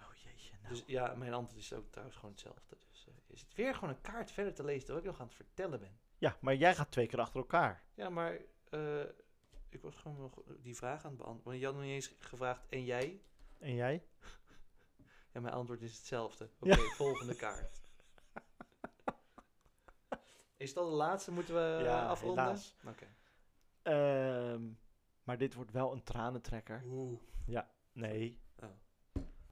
[SPEAKER 4] Oh jeetje, nou.
[SPEAKER 3] Dus ja, mijn antwoord is ook trouwens gewoon hetzelfde. Dus eh, is het weer gewoon een kaart verder te lezen terwijl ik nog aan het vertellen ben.
[SPEAKER 4] Ja, maar jij gaat twee keer achter elkaar.
[SPEAKER 3] Ja, maar eh, ik was gewoon nog die vraag aan het beantwoorden. Want je had nog niet eens gevraagd, en jij?
[SPEAKER 4] En jij?
[SPEAKER 3] Ja, mijn antwoord is hetzelfde. Oké,
[SPEAKER 4] Ja.
[SPEAKER 3] volgende
[SPEAKER 4] *laughs*
[SPEAKER 3] kaart. Is dat de laatste? Moeten we
[SPEAKER 4] Ja,
[SPEAKER 3] eh, afronden?
[SPEAKER 4] helaas.
[SPEAKER 3] Oké.
[SPEAKER 4] Ehm, maar dit wordt wel een tranentrekker.
[SPEAKER 3] Oeh.
[SPEAKER 4] Nee.
[SPEAKER 3] Oh.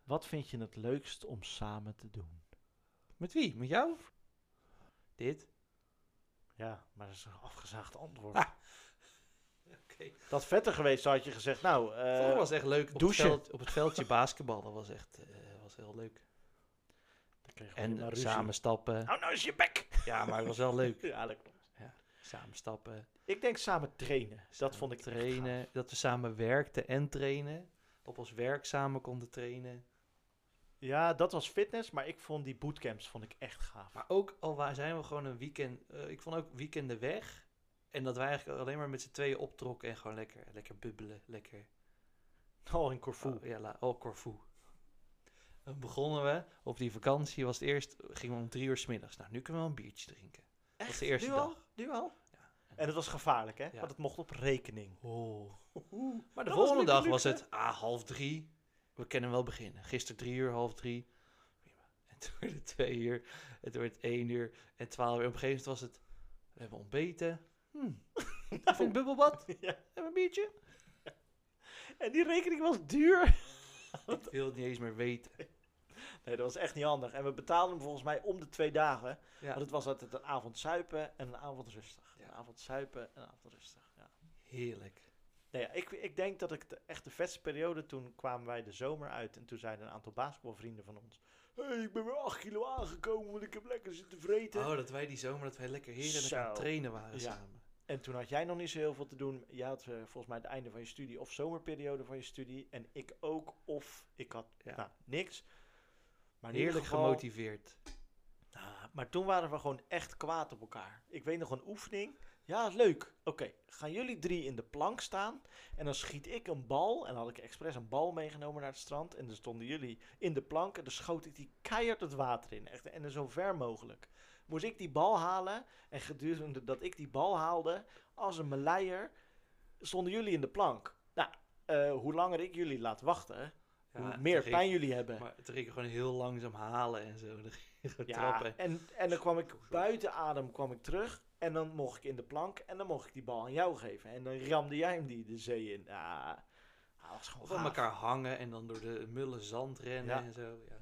[SPEAKER 4] Wat vind je het leukst om samen te doen?
[SPEAKER 3] Met wie? Met jou? Dit?
[SPEAKER 4] Ja, maar dat is een afgezaagd antwoord.
[SPEAKER 3] Oké.
[SPEAKER 4] Ah. Dat vetter geweest had je gezegd, nou... eh,
[SPEAKER 3] Eh, Vroeger was het echt leuk. Op,
[SPEAKER 4] douchen.
[SPEAKER 3] Het, veld, op het veldje basketballen was echt eh, was heel leuk.
[SPEAKER 4] dan kregen we alleen maar
[SPEAKER 3] En
[SPEAKER 4] ruzie.
[SPEAKER 3] samen stappen.
[SPEAKER 4] Hou nou eens je bek!
[SPEAKER 3] Ja, maar het was wel leuk.
[SPEAKER 4] Ja, dat klopt.
[SPEAKER 3] Samen stappen.
[SPEAKER 4] Ik denk samen trainen. Dus Dat vond ik echt gaaf.
[SPEAKER 3] trainen. Dat we samen werkten en trainen. Op ons werk samen konden trainen.
[SPEAKER 4] Ja, dat was fitness, maar ik vond die bootcamps vond ik echt gaaf.
[SPEAKER 3] Maar ook al waar zijn we gewoon een weekend. eh, ik vond ook weekenden weg. En dat wij eigenlijk alleen maar met z'n tweeën optrokken en gewoon lekker, lekker bubbelen. Lekker. Ah,
[SPEAKER 4] Al in Corfu.
[SPEAKER 3] Oh, ja, la, oh, Corfu. Dan begonnen we op die vakantie. Was het eerst, gingen we om drie uur smiddags. Nou, nu kunnen we wel een biertje drinken. Dat is de eerste
[SPEAKER 4] nu al?
[SPEAKER 3] dag.
[SPEAKER 4] Nu al? En het was gevaarlijk, hè?
[SPEAKER 3] Ja.
[SPEAKER 4] Want het mocht op rekening.
[SPEAKER 3] Maar de
[SPEAKER 4] Dat was
[SPEAKER 3] volgende
[SPEAKER 4] lekker
[SPEAKER 3] dag was
[SPEAKER 4] luxe, hè?
[SPEAKER 3] het, ah, half drie. We kunnen wel beginnen. Gisteren drie uur, half drie. Prima. En toen werd het twee uur. En toen werd het één uur. En twaalf uur. Op een gegeven moment was het, we hebben ontbeten. Hm.
[SPEAKER 4] *laughs*
[SPEAKER 3] Even
[SPEAKER 4] Nou.
[SPEAKER 3] een bubbelbad.
[SPEAKER 4] *laughs* Ja.
[SPEAKER 3] En een biertje.
[SPEAKER 4] En die rekening was duur.
[SPEAKER 3] Ik wil het niet eens meer weten.
[SPEAKER 4] Nee, dat was echt niet handig. En we betaalden hem volgens mij om de twee dagen.
[SPEAKER 3] Ja.
[SPEAKER 4] Want het was altijd een avond zuipen en een avond rustig.
[SPEAKER 3] Ja.
[SPEAKER 4] Een avond zuipen en een avond rustig. Ja.
[SPEAKER 3] Heerlijk.
[SPEAKER 4] Nou ja, ik, ik denk dat ik de, echt de vetste periode, toen kwamen wij de zomer uit en toen zeiden een aantal basketbalvrienden van ons, hey, ik ben weer 8 kilo aangekomen, want ik heb lekker zitten vreten.
[SPEAKER 3] Oh, dat wij die zomer, dat wij lekker heerlijk aan het
[SPEAKER 4] Zo.
[SPEAKER 3] trainen waren
[SPEAKER 4] Ja.
[SPEAKER 3] samen.
[SPEAKER 4] En toen had jij nog niet zo heel veel te doen. Jij had eh, volgens mij het einde van je studie of zomerperiode van je studie en ik ook, of ik had
[SPEAKER 3] Ja.
[SPEAKER 4] nou, niks. Maar in ieder
[SPEAKER 3] Heerlijk
[SPEAKER 4] geval-
[SPEAKER 3] gemotiveerd.
[SPEAKER 4] Nou, maar toen waren we gewoon echt kwaad op elkaar. Ik weet nog een oefening. Ja, is leuk. Oké, gaan jullie drie in de plank staan en dan schiet ik een bal. En dan had ik expres een bal meegenomen naar het strand. En dan stonden jullie in de plank en dan schoot ik die keihard het water in. Echt, en dan zo ver mogelijk. Moest ik die bal halen en gedurende dat ik die bal haalde, als een meleier, stonden jullie in de plank. Nou, eh, hoe langer ik jullie laat wachten, hoe
[SPEAKER 3] toen
[SPEAKER 4] meer
[SPEAKER 3] ging-
[SPEAKER 4] pijn jullie hebben.
[SPEAKER 3] Maar toen ging ik gewoon heel langzaam halen en zo. Dan ging ik gewoon trappen.
[SPEAKER 4] Ja, en, en dan kwam ik buiten adem kwam ik terug. En dan mocht ik in de plank. En dan mocht ik die bal aan jou geven. En dan ramde jij hem die de zee in. Ja, dat was gewoon
[SPEAKER 3] Of aan
[SPEAKER 4] gaaf.
[SPEAKER 3] elkaar hangen en dan door de mullen zand rennen
[SPEAKER 4] Ja.
[SPEAKER 3] en zo. Ja.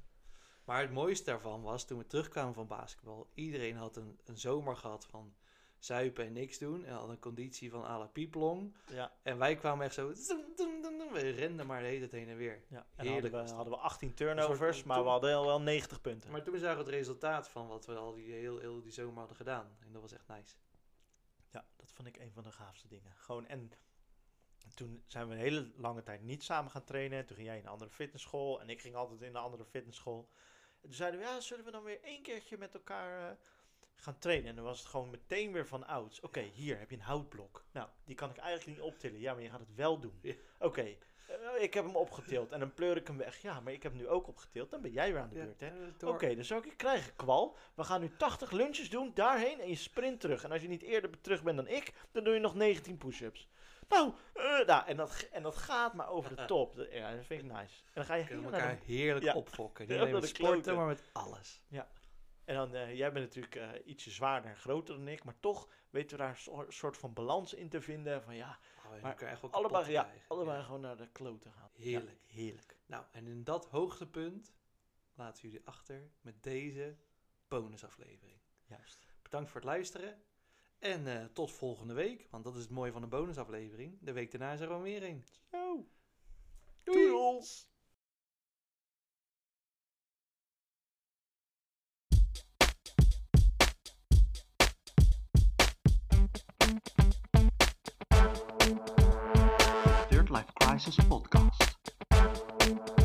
[SPEAKER 3] Maar het mooiste daarvan was, toen we terugkwamen van basketbal, iedereen had een, een zomer gehad van zuipen en niks doen. En had een conditie van à la pieplong.
[SPEAKER 4] Ja,
[SPEAKER 3] En wij kwamen echt zo, zoem, zoem, zoem, zoem. we renden maar de hele tijd heen en weer.
[SPEAKER 4] ja. En dan
[SPEAKER 3] Heerlijk
[SPEAKER 4] hadden
[SPEAKER 3] was
[SPEAKER 4] we,
[SPEAKER 3] dat.
[SPEAKER 4] hadden we 18 turnovers.
[SPEAKER 3] soort-
[SPEAKER 4] Maar we hadden wel 90 punten.
[SPEAKER 3] Maar toen zagen we het resultaat van wat we al die heel, heel die zomer hadden gedaan. En dat was echt nice.
[SPEAKER 4] Ja, dat vond ik een van de gaafste dingen. Gewoon, en toen zijn we een hele lange tijd niet samen gaan trainen. Toen ging jij in een andere fitnessschool en ik ging altijd in een andere fitnessschool. En toen zeiden we, ja, zullen we dan weer één keertje met elkaar eh, gaan trainen? En dan was het gewoon meteen weer van ouds. Oké, hier heb je een houtblok. Nou, die kan ik eigenlijk niet optillen. Ja, maar je gaat het wel doen.
[SPEAKER 3] Ja.
[SPEAKER 4] Oké, eh, ik heb hem opgetild en dan pleur ik hem weg. Ja, maar ik heb hem nu ook opgetild. Dan ben jij weer aan de
[SPEAKER 3] Ja,
[SPEAKER 4] beurt, hè?
[SPEAKER 3] eh, door.
[SPEAKER 4] Oké, dus ook ik krijg een kwal. We gaan nu 80 lunches doen, daarheen en je sprint terug. En als je niet eerder be- terug bent dan ik, dan doe je nog 19 push-ups. Nou, eh, nou en, dat, g- en dat gaat maar
[SPEAKER 3] *laughs*
[SPEAKER 4] over de top. Dat, ja, dat vind ik nice. En dan ga je
[SPEAKER 3] We kunnen
[SPEAKER 4] helemaal naar
[SPEAKER 3] elkaar
[SPEAKER 4] *laughs* de-
[SPEAKER 3] heerlijk
[SPEAKER 4] Ja.
[SPEAKER 3] opfokken.
[SPEAKER 4] *laughs* Ja,
[SPEAKER 3] Niet alleen
[SPEAKER 4] naar
[SPEAKER 3] met
[SPEAKER 4] de
[SPEAKER 3] sporten,
[SPEAKER 4] kloten.
[SPEAKER 3] maar met alles.
[SPEAKER 4] En dan, eh, jij bent natuurlijk eh, ietsje zwaarder en groter dan ik, maar toch weten we daar een soor- soort van balans in te vinden. Van ja,
[SPEAKER 3] Oh, en
[SPEAKER 4] Maar
[SPEAKER 3] elkaar echt wel kapot
[SPEAKER 4] allebei,
[SPEAKER 3] te
[SPEAKER 4] ja,
[SPEAKER 3] krijgen.
[SPEAKER 4] allebei gewoon naar de klote gaan. Ja,
[SPEAKER 3] Heerlijk.
[SPEAKER 4] heerlijk.
[SPEAKER 3] Nou, en in dat hoogtepunt laten we jullie achter met deze bonusaflevering.
[SPEAKER 4] Juist.
[SPEAKER 3] Bedankt voor het luisteren. En eh, tot volgende week, want dat is het mooie van een bonusaflevering. De week daarna is er gewoon weer een.
[SPEAKER 4] Zo.
[SPEAKER 3] Doei!
[SPEAKER 4] Doedels.
[SPEAKER 1] Third Life Crisis Podcast.